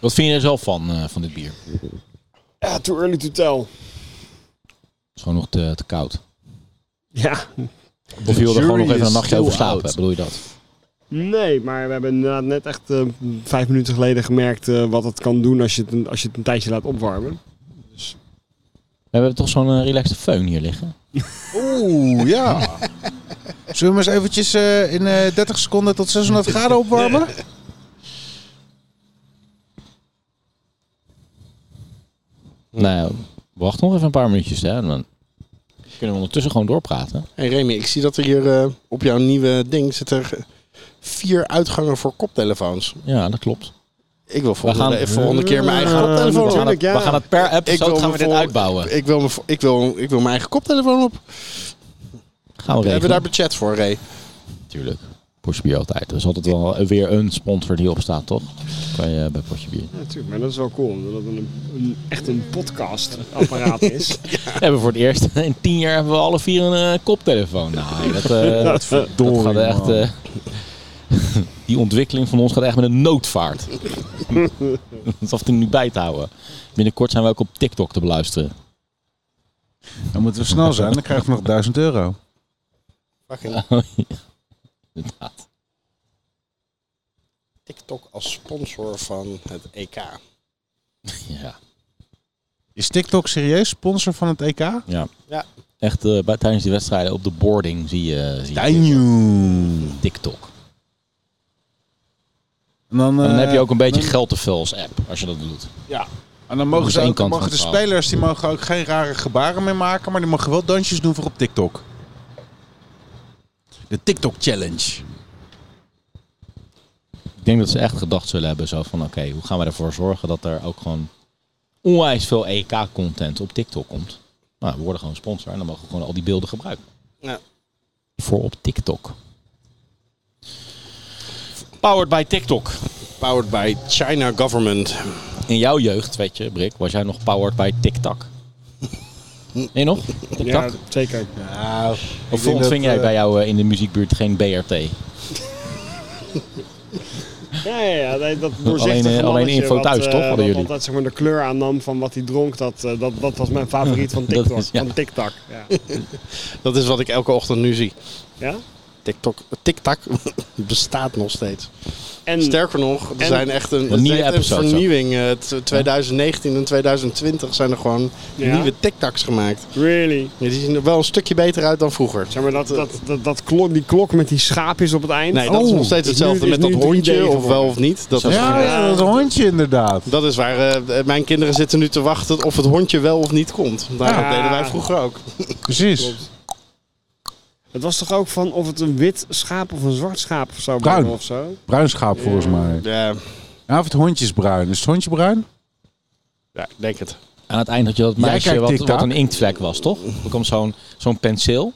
S1: Wat vind je er zelf van, eh, van dit bier? Het
S2: Ja, too early to tell.
S1: is gewoon nog te, te koud.
S2: Ja.
S1: Of je wil er gewoon nog
S3: jury
S1: even een
S3: is
S1: nachtje
S3: still
S1: over slapen,
S3: out.
S1: bedoel je dat?
S2: Nee, maar we hebben inderdaad net echt eh, vijf minuten geleden gemerkt eh, wat het kan doen als je het, een- als je het een tijdje laat opwarmen.
S1: We hebben toch zo'n eh, relaxed föhn hier liggen.
S3: Oeh, ja. Zullen we hem eens eventjes eh, in eh, 30 seconden tot 600 graden opwarmen?
S1: Nou, wacht nog even een paar minuutjes, hè. Dan kunnen we ondertussen gewoon doorpraten.
S5: Hey Remy, ik zie dat er hier eh, op jouw nieuwe ding zitten er vier uitgangen voor koptelefoons.
S1: Ja, dat klopt.
S5: Ik wil volgende,
S1: gaan-
S5: eh, volgende keer mijn eigen
S2: Eh,
S5: koptelefoon
S1: We
S5: op.
S1: gaan het,
S2: Tuurlijk, ja.
S1: we gaan het per episode
S5: wil
S1: gaan
S5: me
S1: we dit
S5: voor-
S1: uitbouwen.
S5: Ik wil, me vo- ik, wil, ik wil mijn eigen koptelefoon op.
S1: Gaan we
S5: We hebben
S1: regelen.
S5: daar budget voor, Ray.
S1: Natuurlijk. Potje bier altijd. Er is altijd wel weer een sponsor die opstaat, toch? Bij, eh, bij Potje bier.
S2: Ja, natuurlijk, maar dat is wel cool, omdat het een, een- echt een podcastapparaat is.
S1: We hebben voor het eerst [LAUGHS] in tien jaar hebben we alle vier een eh, koptelefoon. Nou, dat, [LAUGHS] eh, dat
S3: Verdorie,
S1: gaat echt... eh, [LAUGHS] die ontwikkeling van ons gaat echt met een noodvaart. [LAUGHS] dat is af en toe niet bij te houden. Binnenkort zijn we ook op TikTok te beluisteren. [LAUGHS]
S3: Dan moeten we snel zijn, dan krijgen we nog 1000 euro.
S5: Fucking
S1: Inderdaad.
S5: TikTok als sponsor van het EK.
S1: Ja.
S3: Is TikTok serieus sponsor van het EK?
S1: ja.
S5: Ja.
S1: Echt eh, bij, tijdens die wedstrijden op de boarding zie je, zie je
S3: Danjoe.
S1: TikTok.
S3: En dan,
S1: En dan heb je ook een beetje
S3: dan-
S1: geld te veel als app, als je dat doet.
S3: En dan mogen,
S1: Dat is
S3: ze
S1: één
S3: ook,
S1: kant
S3: mogen
S1: van
S3: de
S1: het verhaal.
S3: spelers die mogen ook geen rare gebaren meer maken, maar die mogen wel dansjes doen voor op TikTok. De TikTok Challenge.
S1: Ik denk dat ze echt gedacht zullen hebben zo van oké, hoe gaan we ervoor zorgen dat er ook gewoon onwijs veel EK-content op TikTok komt. Nou, we worden gewoon sponsor en dan mogen we gewoon al die beelden gebruiken.
S5: Ja.
S1: Voor op TikTok. Powered by TikTok.
S5: Powered by China Government.
S1: In jouw jeugd, weet je, Brik, was jij nog powered by
S5: [LAUGHS]
S1: TikTok? Nee nog? TikTok?
S2: ja, zeker.
S3: Nou,
S1: of ontving jij bij jou eh, in de muziekbuurt geen BRT?
S2: Ja, ja, ja nee, dat doorzichtige
S1: Alleen, eh, alleen
S2: mannetje
S1: info
S2: wat,
S1: thuis,
S2: eh,
S1: toch, hadden
S2: wat
S1: jullie?
S2: altijd zeg maar, de kleur aannam van wat hij dronk, dat, eh, dat, dat was mijn favoriet van
S1: [LAUGHS] Dat
S2: TikTok.
S1: is- ja.
S2: Van TikTok,
S1: [LAUGHS]
S2: ja.
S5: Dat is wat ik elke ochtend nu zie.
S2: ja?
S5: TikTok, TikTok [LAUGHS] bestaat nog steeds.
S2: En
S5: Sterker nog, er
S2: en-
S5: zijn echt een,
S1: Een nieuwe
S5: het heet een
S1: episode,
S5: vernieuwing. eh, t- 2019 en 2020 zijn er gewoon
S2: Ja?
S5: nieuwe TikToks gemaakt.
S2: really,
S5: Ja, die zien er wel een stukje beter uit dan vroeger.
S2: zeg maar, dat, dat, dat, dat klok, die klok met die schaapjes op het eind.
S5: Eh. Nee,
S1: Oh,
S5: dat is nog steeds
S2: is
S1: dus
S5: hetzelfde
S2: nu- is
S5: met dat
S2: nu 3D
S5: hondje, of
S2: geworden.
S5: wel of niet. Dat, is,
S3: Ja, ja, dat hondje inderdaad.
S5: dat is waar eh, mijn kinderen zitten nu te wachten of het hondje wel of niet komt. Daar
S2: Ja.
S5: deden wij vroeger ook.
S3: Precies.
S2: Het was toch ook van of het een wit schaap of een zwart schaap of zo
S3: Bruin.
S2: worden of zo?
S3: Bruin schaap volgens mij.
S5: Ja,
S3: Ja, of het hondje is bruin. Is het hondje bruin?
S5: ja ik denk het.
S1: Aan het eind had je dat
S3: Jij
S1: meisje
S3: kijkt
S1: wat,
S3: TikTok?
S1: wat een inktvlek was, toch? Er komt zo'n zo'n penseel.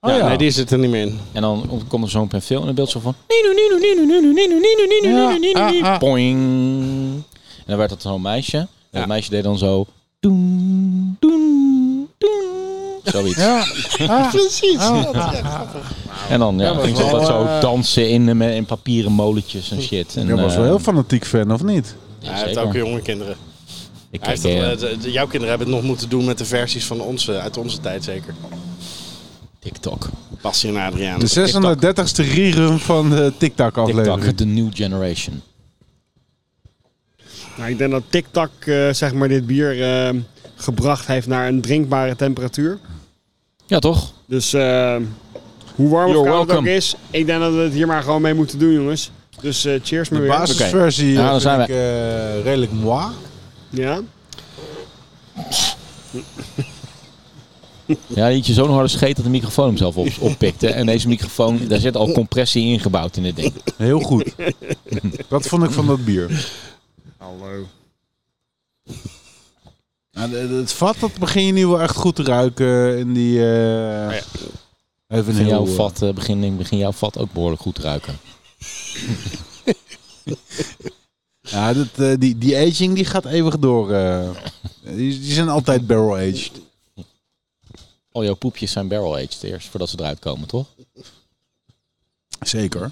S3: Oh
S5: ja, Nee, die zit er niet meer in.
S1: En dan komt er zo'n penseel en een beeld zo van... Nino, nino, nino, nino, nino, nino, nino,
S3: Ja,
S1: nino, nino,
S3: ah,
S1: nino.
S3: ah.
S1: Poing. En dan werd dat zo'n meisje. En dat
S5: Ja.
S1: meisje deed dan zo... Doen, doen, doen. Zoiets.
S3: Ja. Ah.
S5: Precies.
S1: En dan ja,
S3: maar
S1: ging ze
S3: wel,
S1: dat zo
S3: eh,
S1: dansen in, eh, met- in papieren molentjes en shit. En,
S3: Jij was
S1: eh,
S3: wel heel fanatiek fan, of niet?
S1: ja,
S5: hij heeft
S1: zeker.
S5: ook jonge kinderen.
S1: Ik
S5: Hij heeft
S1: keek,
S5: dat,
S1: eh,
S5: eh, de- de- jouw kinderen hebben het nog moeten doen met de versies van onze, uit onze tijd zeker.
S1: TikTok.
S5: Bassie en Adriaan.
S2: Dus-
S3: De 630ste rerun van de TikTok-aflevering.
S1: TikTok, the new generation.
S2: Nou, ik denk dat TikTok eh, zeg maar dit bier eh, gebracht heeft naar een drinkbare temperatuur.
S1: Ja, toch?
S2: Dus eh, hoe warm of
S1: You're
S2: koud het ook
S1: welcome.
S2: is, ik denk dat we het hier maar gewoon mee moeten doen, jongens. Dus eh, cheers maar
S3: De
S2: weer.
S3: basisversie
S1: Oké.
S3: eh,
S1: Ja, dan zijn
S3: vind ik eh, redelijk moi.
S2: Ja?
S1: Ja, die had je zo'n harde scheet dat de microfoon hem zelf op, oppikte. En deze microfoon, daar zit al compressie ingebouwd in dit ding.
S3: Heel goed.
S1: [LAUGHS]
S3: dat vond ik van dat bier.
S2: Hallo.
S3: Nou, de- de- het vat, dat begin je nu wel echt goed te ruiken. In die, eh, Even een
S1: Begin jouw
S3: heel eh,
S1: vat, eh, begin, begin jouw vat ook behoorlijk goed te ruiken.
S3: Ja, dat, eh, die, die aging die gaat eeuwig door. eh. die, die zijn altijd barrel-aged.
S1: Al jouw poepjes zijn barrel-aged eerst, voordat ze eruit komen, toch?
S3: Zeker.
S1: Dat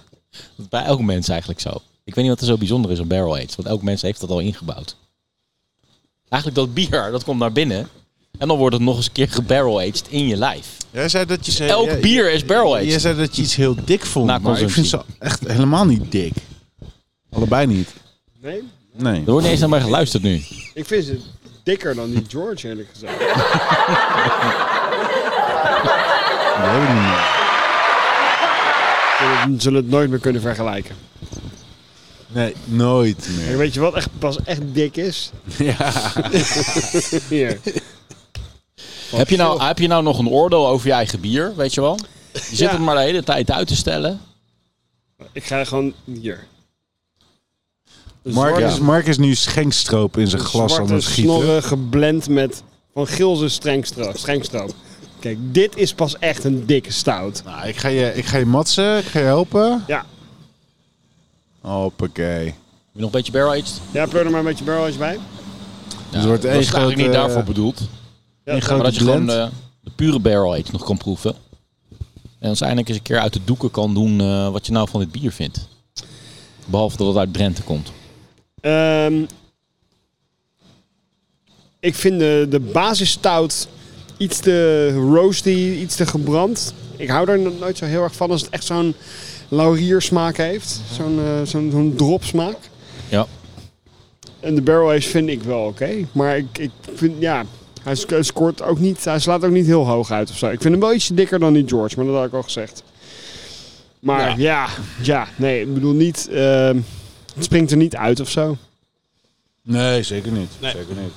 S1: is bij elk mens eigenlijk zo. Ik weet niet wat er zo bijzonder is aan barrel aged, want elk mens heeft dat al ingebouwd. Eigenlijk dat bier, dat komt naar binnen en dan wordt het nog eens een keer gebarrel aged in je lijf.
S3: Jij zei dat je zei,
S1: Elk bier is barrel
S3: Jij
S1: aged.
S3: zei dat je iets heel dik vond,
S1: Na
S3: maar ik vind ze
S1: consumptie.
S3: echt helemaal niet dik. Allebei niet.
S2: Nee?
S3: Nee.
S1: Er wordt niet eens naar mij geluisterd nu.
S2: Ik vind ze dikker dan die George, eerlijk gezegd.
S3: Dat hebben we niet meer.
S2: We zullen het nooit meer kunnen vergelijken.
S3: Nee, nooit
S2: En
S3: meer.
S2: weet je wat echt, pas echt dik [LAUGHS] is? Ja. Hier.
S1: Heb je, nou, heb je nou nog een oordeel over je eigen bier, weet je wel? Je zit het maar de hele tijd uit te stellen.
S2: Ik ga gewoon hier. Een
S3: Mark
S2: zwarte-
S3: is, Mark is nu schenkstroop in zijn glas aan
S2: zwarte
S3: het schieten.
S2: snorren geblend met Van Gilse strengstroop. strengstroop. Kijk, dit is pas echt een dikke stout.
S3: Nou, ik, ga je, ik ga je matsen, ik ga je helpen.
S2: Ja,
S3: Hoppakee.
S1: Heb je nog een beetje barrel aged?
S2: ja pleur er maar een beetje barrelage bij.
S1: Ja,
S3: wordt
S1: dat
S3: één
S1: is eigenlijk
S3: grote-
S1: niet daarvoor bedoeld.
S2: Ja,
S3: Een
S1: Maar
S3: grote
S1: dat je gewoon
S3: blend.
S1: de, de pure barrel aged nog kan proeven. En ons eindelijk eens een keer uit de doeken kan doen eh, wat je nou van dit bier vindt. Behalve dat het uit Drenthe komt.
S2: Ehm, ik vind de, de basisstout iets te roasty, iets te gebrand. Ik hou daar no- nooit zo heel erg van als het echt zo'n lauriersmaak heeft. Zo'n eh, zo'n zo'n dropsmaak.
S1: Ja.
S2: En de barrel aged vind ik wel oké. Maar ik, ik vind, ja, hij sc- scoort ook niet, hij slaat ook niet heel hoog uit of zo. Ik vind hem wel ietsje dikker dan die George, maar dat had ik al gezegd. Maar ja, ja, nee, ik bedoel niet, ehm, het springt er niet uit of zo.
S3: Nee, zeker niet. Zeker niet.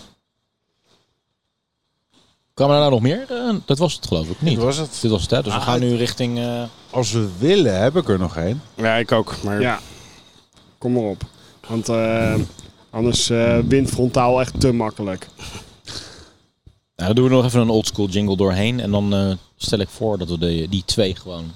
S1: Kwamen er nou nog meer? Eh, dat was het geloof ik niet.
S3: Dit was het.
S1: Dit was het, hè? Dus we
S3: Ah,
S1: gaan nu richting... eh,
S3: Als we willen, heb ik er nog één.
S5: Ja, ik ook. Maar
S2: Ja, kom maar op. Want eh, anders eh wint frontaal echt te makkelijk.
S1: nou, dan doen we nog even een oldschool jingle doorheen. En dan eh, stel ik voor dat we de, die twee gewoon...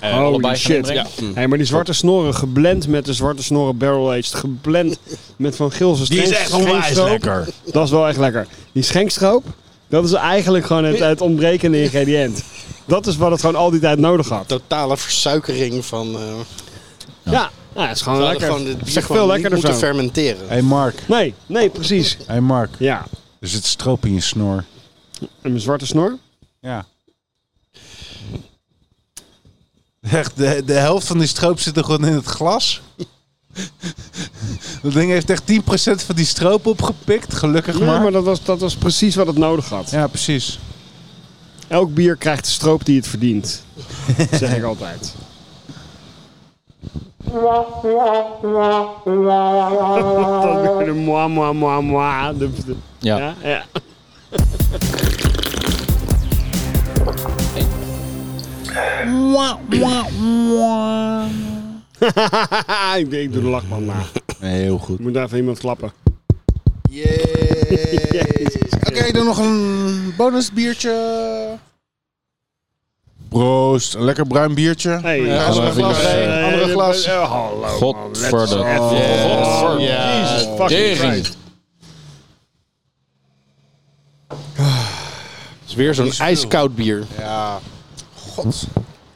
S1: eh,
S2: Holy
S1: allebei gaan
S2: shit,
S1: inbrengen.
S2: Hey, maar die zwarte snoren, geblend met de zwarte snoren barrel aged, geblend met Van Gilse
S5: Die is echt onwijs lekker.
S2: Dat is wel echt lekker. Die schenkstroop, dat is eigenlijk gewoon het, het ontbrekende ingrediënt. Dat is wat het gewoon al die tijd nodig had.
S5: Totale versuikering van... eh
S2: Ja, ja, het is gewoon
S5: we hadden
S2: lekker.
S5: gewoon dit
S2: Het
S5: bier
S2: is echt
S5: gewoon
S2: veel
S5: niet
S2: lekkerder
S5: moeten
S2: zo.
S5: fermenteren.
S3: Hé hey Mark,
S2: Nee, nee, precies.
S3: hey Mark.
S2: Ja,
S3: Er zit stroop in je snor.
S2: en mijn zwarte snor.
S3: Ja. Echt, de, de helft van die stroop zit er gewoon in het [LAUGHS] glas. Dat ding heeft echt 10% van die stroop opgepikt, gelukkig
S2: Ja,
S3: maar.
S2: maar dat was, dat was precies wat het nodig had.
S3: Ja, precies.
S2: Elk bier krijgt de stroop die het verdient. Dat zeg ik altijd. Dat doe je de moi, moi, moi, moi. De- de-
S1: Ja.
S2: ja, ja. [LAUGHS] ik, ik doe de lachband na.
S3: heel goed.
S2: Ik moet daar even iemand klappen. [LAUGHS]
S3: Oké, dan nog een bonus biertje. Proost, een lekker bruin biertje.
S2: Hey,
S1: Ja,
S2: andere
S1: even
S2: glas.
S1: juist.
S2: eh, andere
S3: Eh,
S2: glas.
S3: eh,
S2: hallo.
S1: Godverdomme.
S2: Godverdomme.
S5: Ja,
S2: Jesus fucking
S1: Tering.
S2: Christ.
S5: is weer zo'n ijskoud bier.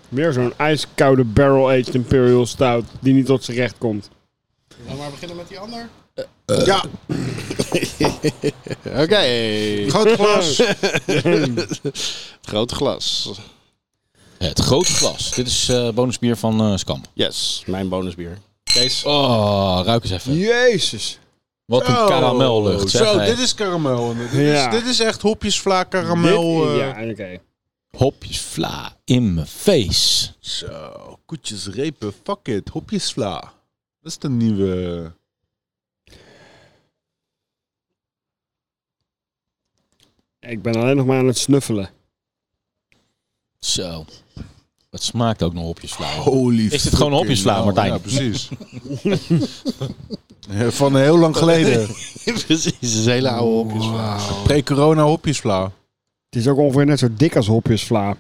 S2: Weer zo'n ijskoude barrel-aged Imperial Stout die niet tot zijn recht komt.
S5: Laten we maar beginnen met die ander.
S7: Eh, [LAUGHS]
S5: Ja. Oké.
S3: Groot glas.
S5: Groot glas.
S1: Het grote glas. Dit is eh bonusbier van eh, Skamp.
S7: Yes, mijn bonusbier. Kees.
S1: Oh, ruik eens even.
S2: Jezus.
S1: Wat een karamellucht. Zeg,
S3: Zo,
S1: hé.
S3: dit is karamel. Dit,
S2: Ja.
S3: is, dit is echt hopjesvla karamel.
S2: Dit-
S3: eh,
S2: ja, oké.
S1: Hopjes vla in mijn face.
S3: Zo, koetjesrepen, fuck it, hopjesvla. Dat is de nieuwe...
S2: Ik ben alleen nog maar aan het snuffelen.
S1: Zo. Het smaakt ook nog hopjes vla.
S3: [LAUGHS] Holy
S1: Is dit gewoon
S3: fucking
S1: hopjesvla,
S3: hell.
S1: Martijn?
S3: Ja, precies. [LAUGHS] Ja, Van heel lang geleden.
S7: Precies, dat is een hele oude hopjes.
S3: Pre-corona hopjesvla.
S2: Het is ook ongeveer net zo dik als hopjesvla.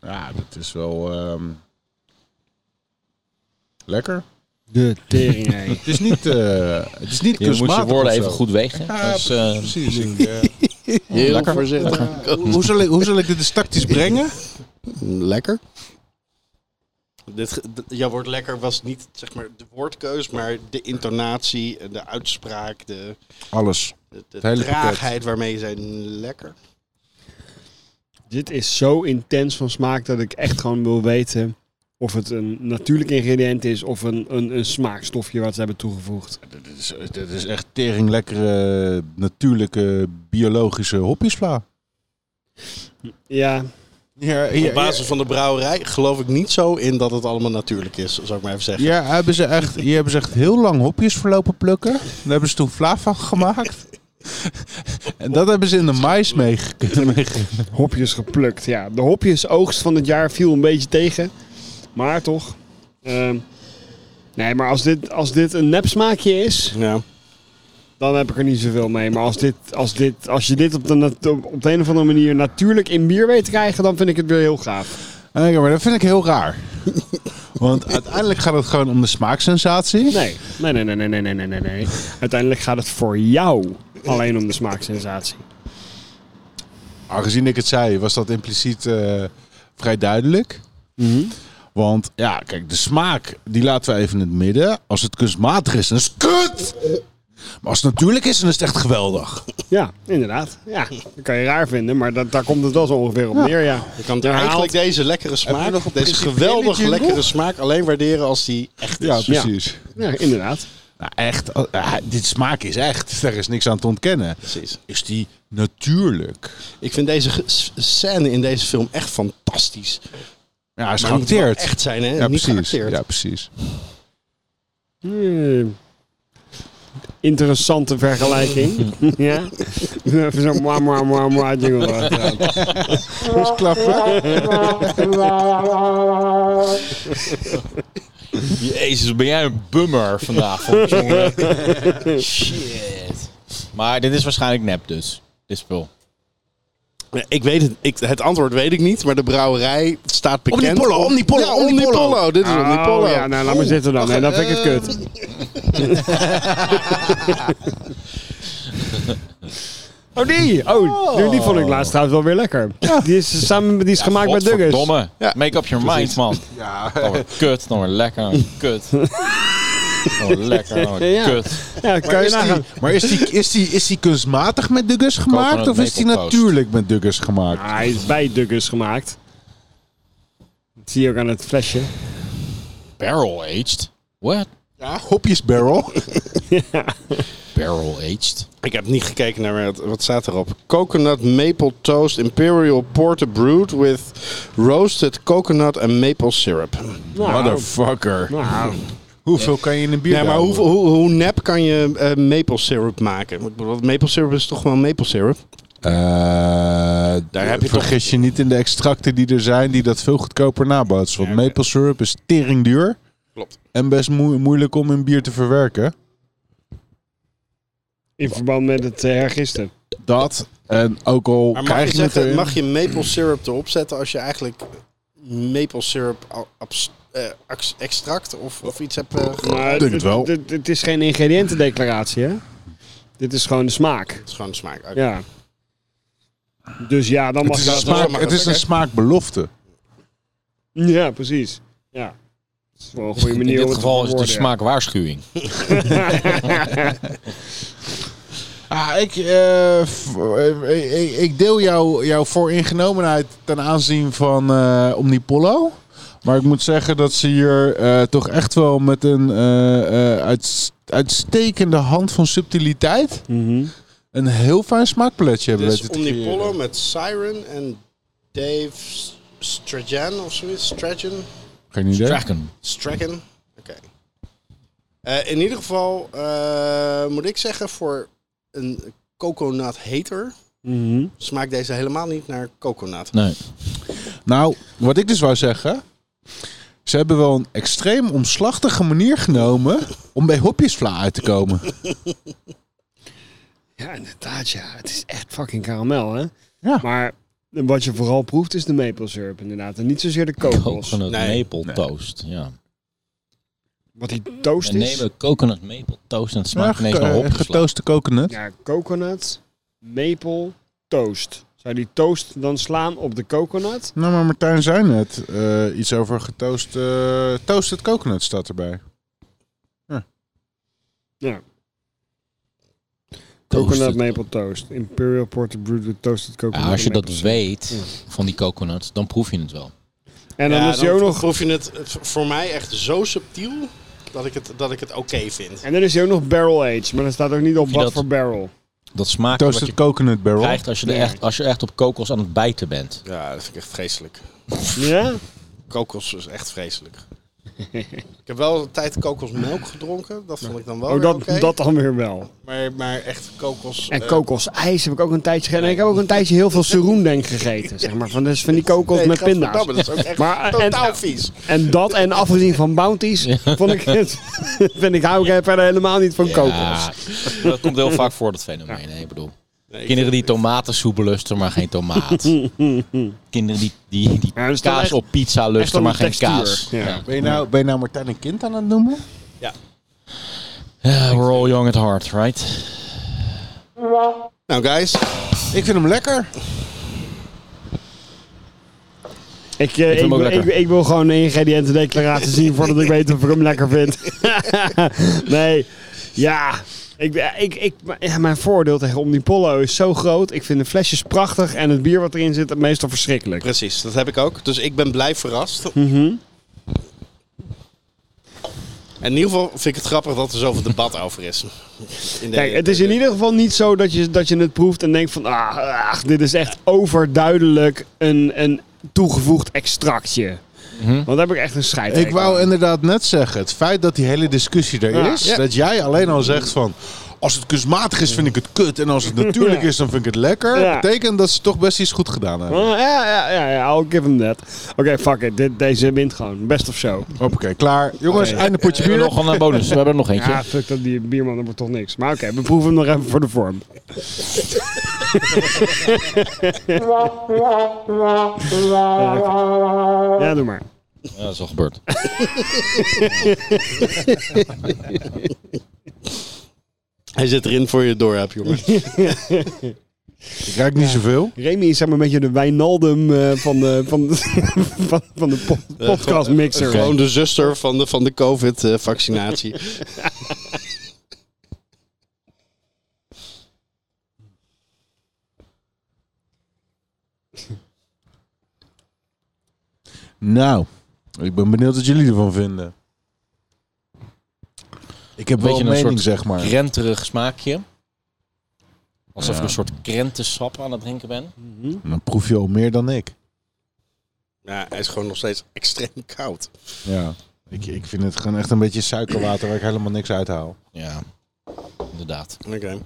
S3: Ja, dat is wel... ehm, lekker.
S2: De [LAUGHS] tering. hé.
S3: Het is niet, eh het is niet
S1: Je moet je
S3: kunstmatig
S1: woorden
S3: of zo.
S1: even goed wegen.
S3: Ja,
S1: Dat is, eh,
S3: precies. Ik, eh,
S7: Heel voorzichtig.
S3: hoe, hoe zal ik, hoe zal ik dit dus
S1: [LAUGHS]
S3: tactisch brengen?
S7: Lekker. Dit, ge- d- ja, woord lekker was niet zeg maar de woordkeus, maar de intonatie, en de uitspraak, de,
S3: Alles.
S7: de, de
S3: Het hele
S7: traagheid waarmee je zei lekker.
S2: Dit is zo intens van smaak dat ik echt gewoon wil weten of het een natuurlijk ingrediënt is of een, een, een smaakstofje wat ze hebben toegevoegd.
S3: Dit is, dit is echt tering lekkere, natuurlijke, biologische hopjesvla.
S2: Ja,
S3: Ja,
S7: Op basis van de brouwerij geloof ik niet zo in dat het allemaal natuurlijk is, zou ik maar even zeggen.
S3: Ja, hebben ze echt, hier hebben ze echt heel lang hopjes verlopen plukken. Daar hebben ze toen vla van gemaakt. En dat hebben ze in de mais meegenomen.
S2: hopjes geplukt. Ja, de hopjesoogst van het jaar viel een beetje tegen. Maar toch. ehm, nee, maar als dit, als dit een nep smaakje is,
S7: Ja.
S2: dan heb ik er niet zoveel mee. Maar als, dit, als, dit, als je dit op de, nat- op de een of andere manier natuurlijk in bier weet te krijgen, dan vind ik het weer heel gaaf.
S3: Ja, maar dat vind ik heel raar. Want uiteindelijk gaat het gewoon om de smaaksensatie.
S2: Nee, nee, nee, nee, nee, nee, nee, nee, nee. Uiteindelijk gaat het voor jou alleen om de smaaksensatie.
S3: Aangezien ik het zei, was dat impliciet eh, vrij duidelijk. Want ja, kijk, de smaak, die laten we even in het midden. Als het kunstmatig is, dan is het kut! Maar als het natuurlijk is, dan is het echt geweldig.
S2: Ja, inderdaad. Ja, dat kan je raar vinden, maar dat, daar komt het wel zo ongeveer op neer, ja.
S7: Je kan
S2: Ja,
S7: eigenlijk
S2: haalt-
S7: deze lekkere
S3: Heb je
S7: smaak,
S3: nog een
S7: deze
S3: principiële
S7: geweldig
S3: jingle?
S7: lekkere smaak, alleen waarderen als die echt is.
S3: Ja,
S2: precies.
S3: precies.
S2: ja, inderdaad.
S3: Nou, echt, ah, dit smaak is echt. [LAUGHS] Daar is niks aan te ontkennen.
S7: Precies.
S3: Is die natuurlijk?
S7: Ik vind deze ge- s- scène in deze film echt fantastisch.
S3: Ja, is
S7: Maar het moet wel
S3: geacteerd.
S7: echt zijn, hè? niet
S3: ja, precies.
S7: geacteerd.
S3: Ja, precies.
S2: Hmm. Interessante vergelijking. [LAUGHS] ja. Even zo'n mwa mwa mwa mwa jingle.
S1: Jezus, ben jij een bummer [LAUGHS] vanavond, jongen. Shit. Maar dit is waarschijnlijk nep dus. Dit spul.
S7: Ja, Ik weet het, ik, het antwoord weet ik niet, maar de brouwerij staat bekend.
S3: Omnipollo, Omnipollo,
S7: Ja, Omnipollo.
S3: Omnipollo.
S7: Dit is Omnipollo.
S2: Oh, ja, nou laat maar zitten dan. hè. dat vind ik het kut. [LAUGHS] Oh die! Oh, die, die vond ik laatst trouwens wel weer lekker. Die is, samen, die is gemaakt met Duggus.
S1: Godverdomme.
S7: Ja.
S1: Make up your mind,
S2: [LAUGHS]
S1: man.
S3: Ja,
S1: Dan wordt kut, dan wordt lekker, dan wordt kut. Dan wordt lekker, dan wordt
S2: Ja.
S1: kut.
S2: Ja, kan
S3: maar
S2: je
S3: is, die,
S2: nagaan.
S3: maar is, die, is, die, is die kunstmatig met Duggus gemaakt
S1: het
S3: of is die
S1: maple toast.
S3: natuurlijk met Duggus gemaakt?
S2: Ah, hij is bij Duggus gemaakt. Dat zie je ook aan het flesje.
S1: Barrel aged? What?
S3: Ja, hopjes barrel.
S1: Barrel aged?
S7: Ik heb niet gekeken naar wat, wat staat erop. Coconut maple toast imperial porter brewed with roasted coconut and maple syrup.
S3: Nou, Motherfucker.
S2: Nou,
S3: Hoeveel kan je in een bier
S7: Ja, maar
S3: brouwen?
S7: hoe, hoe, hoe nep kan je eh, maple syrup maken? Ik bedoel, Maple syrup is toch wel maple syrup?
S3: Eh,
S7: Daar heb je
S3: vergis je niet in de extracten die er zijn die dat veel goedkoper nabootsen. Want maple syrup is tering duur.
S7: Klopt.
S3: En best moe- moeilijk om in bier te verwerken.
S2: in verband met het eh, hergisten.
S3: Dat en ook al
S7: Maar mag
S3: krijg
S7: je,
S3: je het
S7: zeggen,
S3: erin-
S7: mag je maple syrup erop zetten als je eigenlijk maple syrup al- abs- eh, ax- extract of, of iets hebt eh, ge-
S2: Maar
S3: Ik denk het wel.
S2: Het, het is geen ingrediëntendeclaratie, hè? Dit is gewoon de smaak.
S7: Het is gewoon smaak. Oké.
S2: Ja. Dus ja, dan
S3: het
S2: mag
S3: is
S2: je
S3: een
S2: dat
S3: smaak,
S7: mag
S3: het
S7: dat
S3: is een smaakbelofte.
S2: wel- Ja, precies. Ja. Dat is wel een goede
S1: In
S2: manier om
S1: dit
S2: het te
S1: geval is het een
S2: verwoorden, ja.
S1: smaakwaarschuwing.
S3: Ah, ik, eh, f- eh, ik, ik deel jouw jouw vooringenomenheid ten aanzien van eh Omnipollo. Maar ik moet zeggen dat ze hier eh, toch echt wel met een eh, eh, uits- uitstekende hand van subtiliteit
S2: Mhm.
S3: een heel fijn smaakpaletje hebben
S5: Dus
S3: weten te creëren.
S5: Omnipollo met Siren en Dave S- Strajan of zoiets. Strajan?
S3: Geen idee.
S1: Draken.
S5: Stragan? Oké. Eh, in ieder geval eh, moet ik zeggen, voor een coconut hater
S2: Mhm.
S5: smaakt deze helemaal niet naar coconut.
S1: Nee.
S3: Nou, wat ik dus wou zeggen. Ze hebben wel een extreem omslachtige manier genomen om bij hopjesvla uit te komen.
S2: Ja, inderdaad, ja. Het is echt fucking karamel, hè?
S3: Ja.
S2: Maar wat je vooral proeft is de maple syrup, inderdaad. En niet zozeer de kokos.
S1: Coconut
S5: Nee.
S1: maple toast. Ja.
S2: Wat die toast
S1: We
S2: is.
S1: nemen coconut maple toast en het smaakt ineens naar
S3: eh,
S1: hopjesla.
S3: Getoaste coconut.
S2: Ja, coconut, maple, toast. Zou die toast dan slaan op de coconut?
S3: Nou, maar Martijn zei net eh, iets over getoast. eh toasted coconut staat erbij.
S2: Ja.
S1: Toasted.
S2: Coconut maple toast. Imperial Porter Brewed with toasted coconut.
S1: Ja, als je
S2: and
S1: dat dus
S2: maple syrup.
S1: weet van die coconut, dan proef je het wel.
S2: En dan
S5: Ja,
S2: is die ook nog...
S5: proef je het eh, v- voor mij echt zo subtiel dat ik het, dat ik het oké vind.
S2: En dan is die ook nog barrel aged, maar dan staat ook niet op
S1: je
S2: wat
S1: dat?
S2: voor barrel.
S1: Dat smaakt wat
S3: Toasted
S1: je
S3: coconut barrel.
S1: krijgt als je, er echt, als je echt op kokos aan het bijten bent.
S5: Ja, dat vind ik echt vreselijk.
S2: Ja?
S5: Kokos is echt
S2: [LAUGHS]
S5: vreselijk. ik heb wel een tijd kokosmelk gedronken. Dat vond ik dan wel
S2: Oh,
S5: weer
S2: dat,
S5: oké.
S2: dat dan weer wel.
S5: Maar, maar echt kokos...
S2: En
S5: eh,
S2: kokosijs heb ik ook een tijdje gegeten. En ik heb ook een tijdje heel veel seroendenk gegeten, zeg maar. Van, dus van die kokos
S5: nee,
S2: met
S5: gadverdamme,
S2: pinda's.
S5: Dat is ook echt
S2: Maar, eh, en-
S5: totaal vies.
S2: En dat en afgezien van bounties, vond ik het... [LAUGHS] vind ik, hou ik verder helemaal niet van kokos.
S1: Ja, [LAUGHS] dat komt heel vaak voor, dat fenomeen. hè. Ik bedoel,
S5: Nee,
S1: kinderen die tomatensoep lusten, maar geen
S2: [LAUGHS]
S1: tomaat. kinderen die, die, die
S2: Ja, dus dan
S1: kaas
S2: echt-
S1: op pizza lusten,
S2: om
S1: maar
S2: de
S1: geen
S2: textuur.
S1: kaas.
S2: Ja.
S3: Ben, je nou, ben je nou Martijn een kind aan het noemen?
S1: Ja, we're all young at heart, right?
S5: Nou guys,
S3: Ik vind hem lekker.
S2: Ik, eh, ik,
S1: hem ook
S2: wil- ik,
S1: lekker.
S2: ik wil gewoon de ingrediëntendeclaratie zien voordat ik weet of ik hem lekker vind. nee, ja. Ik, ik, ik, ja, Mijn voordeel tegen Omnipollo is zo groot. Ik vind de flesjes prachtig en het bier wat erin zit meestal verschrikkelijk.
S5: precies, dat heb ik ook. Dus ik ben blij verrast.
S2: Mhm.
S5: En in ieder geval vind ik het grappig dat er zoveel debat over is. In de-
S2: Kijk, het is in ieder geval niet zo dat je, dat je het proeft en denkt van... Ah, ah, dit is echt overduidelijk een, een toegevoegd extractje. Want daar heb ik echt een scheid
S3: Ik wou inderdaad net zeggen, het feit dat die hele discussie er
S2: Ja.
S3: is,
S2: Ja.
S3: dat jij alleen al zegt van, als het kunstmatig is vind ik het kut en als het natuurlijk
S2: Ja.
S3: is dan vind ik het lekker,
S2: Ja.
S3: betekent dat ze toch best iets goed gedaan hebben.
S2: Ja, ja, ja, ja, I'll give him that. Oké, fuck it. Dit, deze wint gewoon. Best of show.
S3: Hoppakee, klaar. Jongens,
S2: Oké.
S3: einde potje
S1: We hebben
S3: bier.
S1: nog een eh, bonus. We hebben er nog eentje.
S2: Ja, fuck dat die bierman, dat wordt toch niks. Maar oké, we proeven hem nog even voor de vorm. ja, oké. Ja, doe maar.
S1: Ja, dat is al gebeurd.
S5: Hij zit erin voor je het door hebt, jongen.
S3: Ik ruik niet zoveel.
S2: Remy is zeg maar een beetje de Wijnaldum eh, van de, van de, [LAUGHS] van, van de po- podcastmixer.
S5: Eh, Gewoon de zuster van de, van de COVID-vaccinatie.
S3: Nou, ik ben benieuwd wat jullie ervan vinden. Ik heb wel
S1: Beetje
S3: een
S1: een
S3: mening,
S1: soort
S3: zeg maar.
S1: Krenterig smaakje. Alsof ik een soort krentensap aan het drinken ben.
S3: Dan proef je al meer dan
S5: [LAUGHS]
S3: ik.
S5: Ja, hij is gewoon nog steeds extreem koud.
S3: Ja. Ik, ik vind het gewoon echt een beetje suikerwater waar ik helemaal niks uit haal.
S1: Ja, inderdaad.
S5: Oké.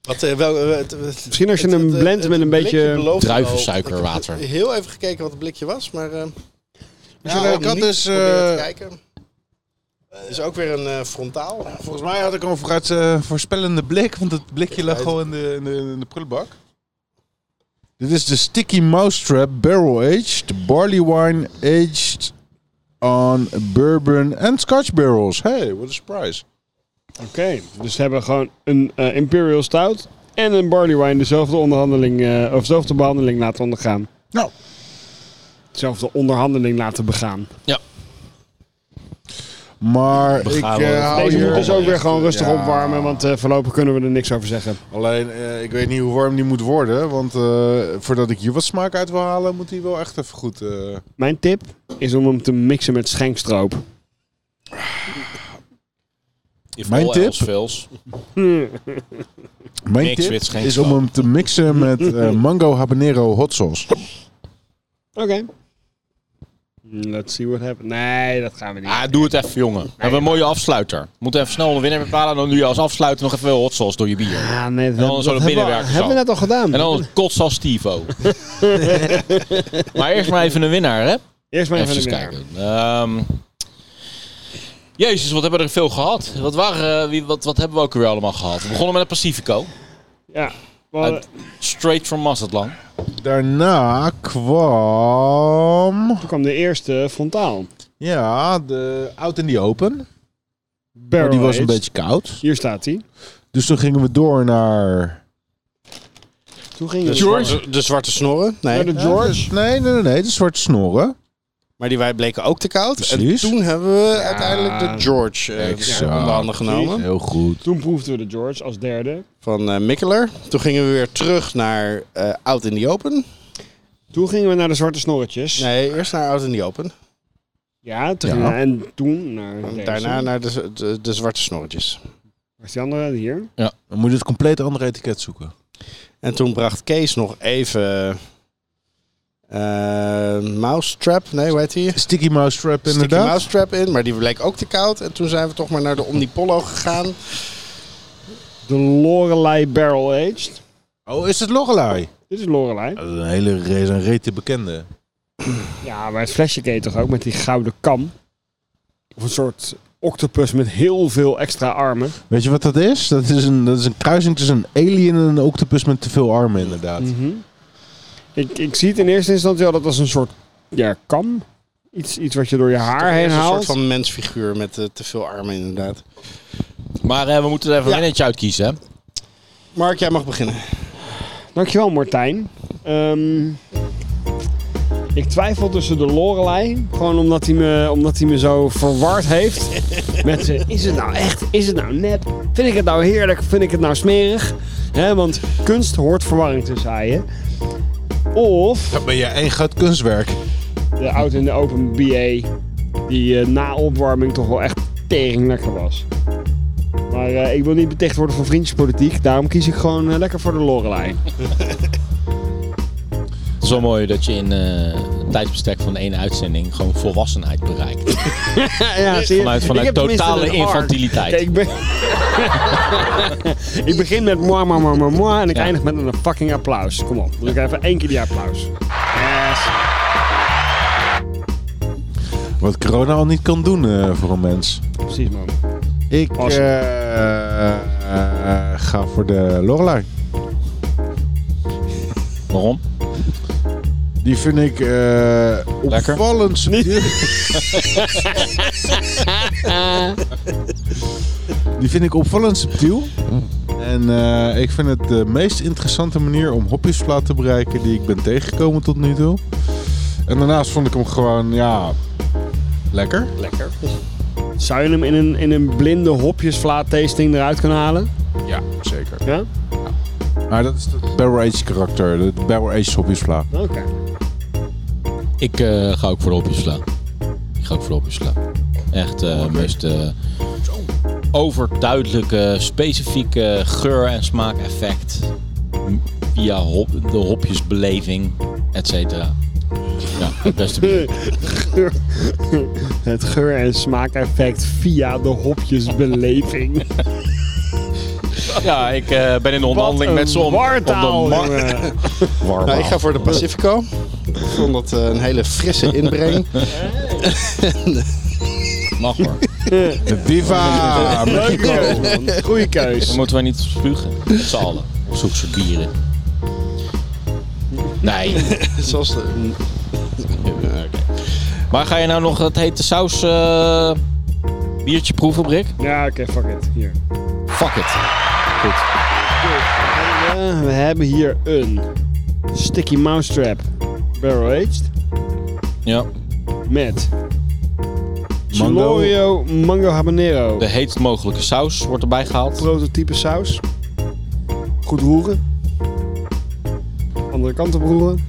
S5: Wat, eh, wel, eh, het- het-
S2: Misschien als je
S5: het-
S2: hem
S5: het-
S2: blendt
S5: het
S2: met een
S5: blikje
S2: beetje-
S5: belooft wel- Ik
S1: Druivensuikerwater.
S5: heb heel even gekeken wat het blikje was, maar... eh
S3: Nou, ik had
S5: niet
S3: dus,
S5: proberen te
S3: eh,
S5: kijken. Eh, is ook weer een eh, frontaal.
S3: Volgens mij had ik een vooruit, eh, voorspellende blik, want het blikje lag al in de, in, de, in de prullenbak. Dit is de Sticky Mousetrap Barrel Aged Barley Wine Aged on Bourbon and Scotch Barrels. Hey, what a surprise.
S2: Oké, dus ze hebben gewoon een eh, Imperial Stout en een Barley Wine dezelfde onderhandeling, eh, of dezelfde behandeling laten ondergaan.
S3: Nou,
S2: Dezelfde onderhandeling laten begaan.
S3: Maar ik
S1: gaan
S3: eh,
S1: wel.
S3: hou
S2: Deze
S3: hier
S2: moet dus ook weer gewoon rustig
S3: Ja.
S2: opwarmen, want eh, voorlopig kunnen we er niks over zeggen.
S3: Alleen, eh, ik weet niet hoe warm die moet worden. Want eh, voordat ik hier wat smaak uit wil halen, moet die wel echt even goed... eh,
S2: Mijn tip is om hem te mixen met schenkstroop.
S1: If
S3: Mijn
S1: all
S3: tip?
S1: else fails.
S3: Mijn
S1: Niks
S3: tip
S1: wits, geen
S3: is
S1: smaak.
S3: om hem te
S2: [LAUGHS]
S3: mixen met eh, mango habanero hot sauce.
S2: Oké. Let's see what happens. Nee, dat gaan we niet.
S1: Ah, doe het even, jongen. We hebben een mooie afsluiter. Moeten even snel een winnaar bepalen. En dan doe je als afsluiter nog even hot sauce door je bier.
S2: Ah, nee, dat,
S1: En dan zo de
S2: hebben, we,
S1: binnenwerkers
S2: hebben we
S1: al.
S2: net al gedaan.
S1: En dan een kots als
S2: [LAUGHS]
S1: Tivo. maar eerst maar even een winnaar, hè?
S2: Eerst maar even,
S1: Even
S2: naar de
S1: kijken. Ehm, jezus, wat hebben we er veel gehad. Wat, waren, eh, wie, wat, wat hebben we ook weer allemaal gehad? We begonnen met een Pacifico.
S2: Ja. we hadden-
S1: Uit- Straight from Mazatlan.
S3: Daarna kwam...
S2: toen kwam de eerste frontaal.
S3: Ja, de Out in the Open. Maar
S2: Barrel
S3: die was een
S2: aged.
S3: beetje koud.
S2: Hier staat hij.
S3: Dus toen gingen we door naar...
S2: Toen ging het.
S5: De, de zwarte snorren. Nee.
S2: Naar de George.
S3: Eh, Nee, nee, nee, nee. De zwarte snoren.
S5: Maar die wij bleken ook te koud.
S3: Precies.
S5: En toen hebben we uiteindelijk de George eh,
S3: Exact.
S5: onder handen genomen.
S3: Heel goed.
S2: Toen proefden we de George als derde.
S5: Van eh Mikkeler. Toen gingen we weer terug naar eh Out in the Open.
S2: Toen gingen we naar de zwarte snorretjes.
S5: Nee, eerst naar Out in the Open.
S2: Ja, toen
S3: Ja.
S2: en toen naar
S5: En
S2: deze.
S5: daarna naar de, de, de zwarte snorretjes.
S2: Was die andere hier?
S3: Dan moet je het compleet andere etiket zoeken.
S5: En toen bracht Kees nog even... eh mousetrap, nee, hoe heet die?
S3: Sticky Mousetrap
S5: Sticky
S3: inderdaad.
S5: mousetrap in, maar die bleek ook te koud. En toen zijn we toch maar naar de Omnipollo gegaan.
S2: De Lorelei Barrel Aged.
S3: Oh, is het Lorelei?
S2: Dit is Lorelei.
S3: Dat is een hele race en rete bekende.
S2: Ja, maar het flesje ken je toch ook met die gouden kam? Of een soort octopus met heel veel extra armen.
S3: Weet je wat dat is? Dat is een, dat is een kruising tussen een alien en een octopus met te veel armen inderdaad.
S2: Ik, ik zie het in eerste instantie al dat als een soort ja, kam. Iets, iets wat je door je haar heen
S5: een soort
S2: haalt.
S5: van mensfiguur met eh, te veel armen inderdaad.
S1: Maar eh, we moeten er even
S5: Ja.
S1: een winnaartje uitkiezen, hè?
S5: Mark, jij mag beginnen.
S2: Dankjewel Martijn. Ehm, ik twijfel tussen de Lorelei. Gewoon omdat hij me, omdat hij me zo verward heeft. Met zijn, is het nou echt? Is het nou net? Vind ik het nou heerlijk? Vind ik het nou smerig? Hè, want kunst hoort verwarring te zaaien. Of...
S3: Dan ben je één groot kunstwerk.
S2: de auto in de open BA, die eh, na opwarming toch wel echt tering lekker was. Maar eh, ik wil niet beticht worden van vriendjespolitiek, daarom kies ik gewoon eh, lekker voor de Lorelei.
S1: Het is wel mooi dat je in eh een tijdsbestek van één uitzending gewoon volwassenheid bereikt.
S2: ja, zie je?
S1: Vanuit,
S2: Ik
S1: vanuit
S2: heb tenminste
S1: totale
S2: een arc.
S1: infantiliteit.
S2: Kijk, ik, ben... [LAUGHS] ik begin met moi, moi, moi, moi, moi en ik
S1: Ja.
S2: eindig met een fucking applaus. Kom op, moet ik even één keer die applaus. Yes.
S3: Wat corona al niet kan doen eh, voor een mens.
S2: Precies man.
S3: Ik
S2: Awesome.
S3: eh, eh, ga voor de Lorelei.
S1: Waarom?
S3: Die vind ik eh
S1: Lekker.
S3: opvallend subtiel. Die vind ik opvallend subtiel. En eh, ik vind het de meest interessante manier om hopjesplaat te bereiken die ik ben tegengekomen tot nu toe. En daarnaast vond ik hem gewoon, ja, lekker.
S2: Lekker. Zou je hem in een, in een blinde hopjesvlaat tasting eruit kunnen halen?
S3: Ja, zeker.
S2: Ja?
S3: Maar dat is het barrel age karakter, de barrel age hopjesplaat.
S2: Oké.
S1: Ik eh, ga ook voor de hopjes slaan. Ik ga ook voor de hopjes slaan. Echt de meest eh, overduidelijke, specifieke geur- en smaakeffect. M- Via hop, de hopjesbeleving, et cetera. Ja, het beste bier.
S2: Het geur- en smaakeffect via de
S1: [LAUGHS] [LAUGHS]
S2: hopjesbeleving.
S1: Ja, ik eh, ben in de onderhandeling
S2: Wat
S1: met ze
S2: een
S1: om, om
S2: wartaal,
S1: de markt
S2: jongen.
S3: Warm.
S5: Nou, ik ga voor de Pacifico. Ik vond dat eh, een hele frisse
S3: [LAUGHS]
S5: inbreng.
S1: [LAUGHS] mag hoor.
S3: Viva!
S2: Leuke keus, man. Goeie keus.
S1: Dan moeten wij niet spugen. Met z'n allen. Op zoek soort bieren. Nee. [LAUGHS]
S5: Zoals de,
S1: Maar ga je nou nog het hete saus eh, biertje proeven, Brik?
S2: Ja, oké, fuck it. Hier.
S1: Fuck it. Goed.
S2: Eh, we hebben hier een Sticky Mousetrap Barrel Aged
S1: Ja.
S2: met
S3: Mango.
S2: Chilorio mango habanero.
S1: De heetst mogelijke saus wordt erbij gehaald.
S2: Prototype saus. Goed roeren. Andere kant op roeren.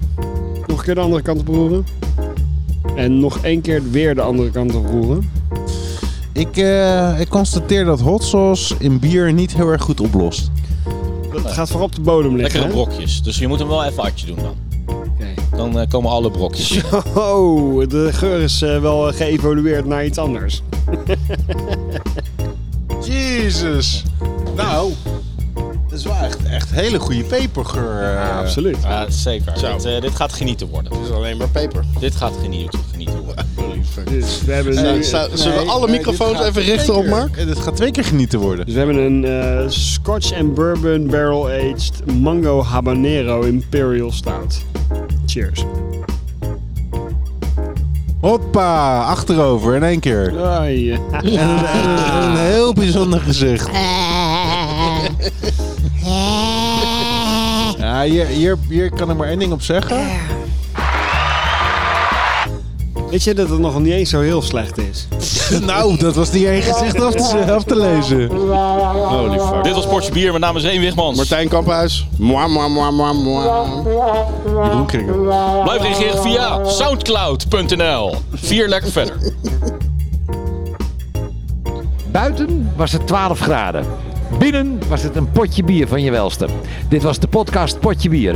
S2: Nog een keer de andere kant op roeren. En nog één keer weer de andere kant op roeren.
S3: Ik, eh, ik constateer dat hot sauce in bier niet heel erg goed oplost.
S2: Het gaat vooral op de bodem liggen.
S1: Lekkere
S2: hè? [LAUGHS]
S1: brokjes. Dus je moet hem wel even uitje doen dan. Dan eh, komen alle brokjes.
S2: Oh, de geur is eh, wel geëvolueerd naar iets anders. [LAUGHS]
S3: Jezus. Nou, dat is wel echt, echt hele goede pepergeur. eh.
S2: Absoluut.
S1: Ja, zeker.
S5: Zo.
S1: Dit, eh, dit gaat genieten worden.
S5: Het is alleen maar peper.
S1: Dit gaat genieten, genieten worden.
S2: Dus we hebben nu-
S5: Zullen we
S3: Nee,
S5: alle
S3: nee,
S5: microfoons
S3: dit gaat
S5: even richten
S3: twee
S5: op
S3: keer-
S5: Mark?
S3: eh, Dit gaat twee keer genieten worden.
S2: Dus we hebben een eh, Scotch and Bourbon Barrel Aged Mango Habanero Imperial Stout. Cheers.
S3: Hoppa, achterover in één keer.
S2: Oh, ja.
S3: Een heel bijzonder gezicht. Ja, hier, hier, hier kan ik maar één ding op zeggen.
S2: [LAUGHS] Weet je dat het nog niet eens zo heel slecht is?
S3: [LAUGHS] Nou, dat was niet één gezicht af te, af te lezen. Holy fuck.
S1: Dit was Portje Bier, mijn naam is Eén Wigmans.
S5: Martijn Kamphuis. Mwah, mwah, mwah, mwah, mwah.
S3: Jeroen Kringer.
S1: Blijf reageren via soundcloud.nl. Vier lekker verder.
S8: Buiten was het 12 graden. Binnen was het een potje bier van je welste. Dit was de podcast Potje Bier.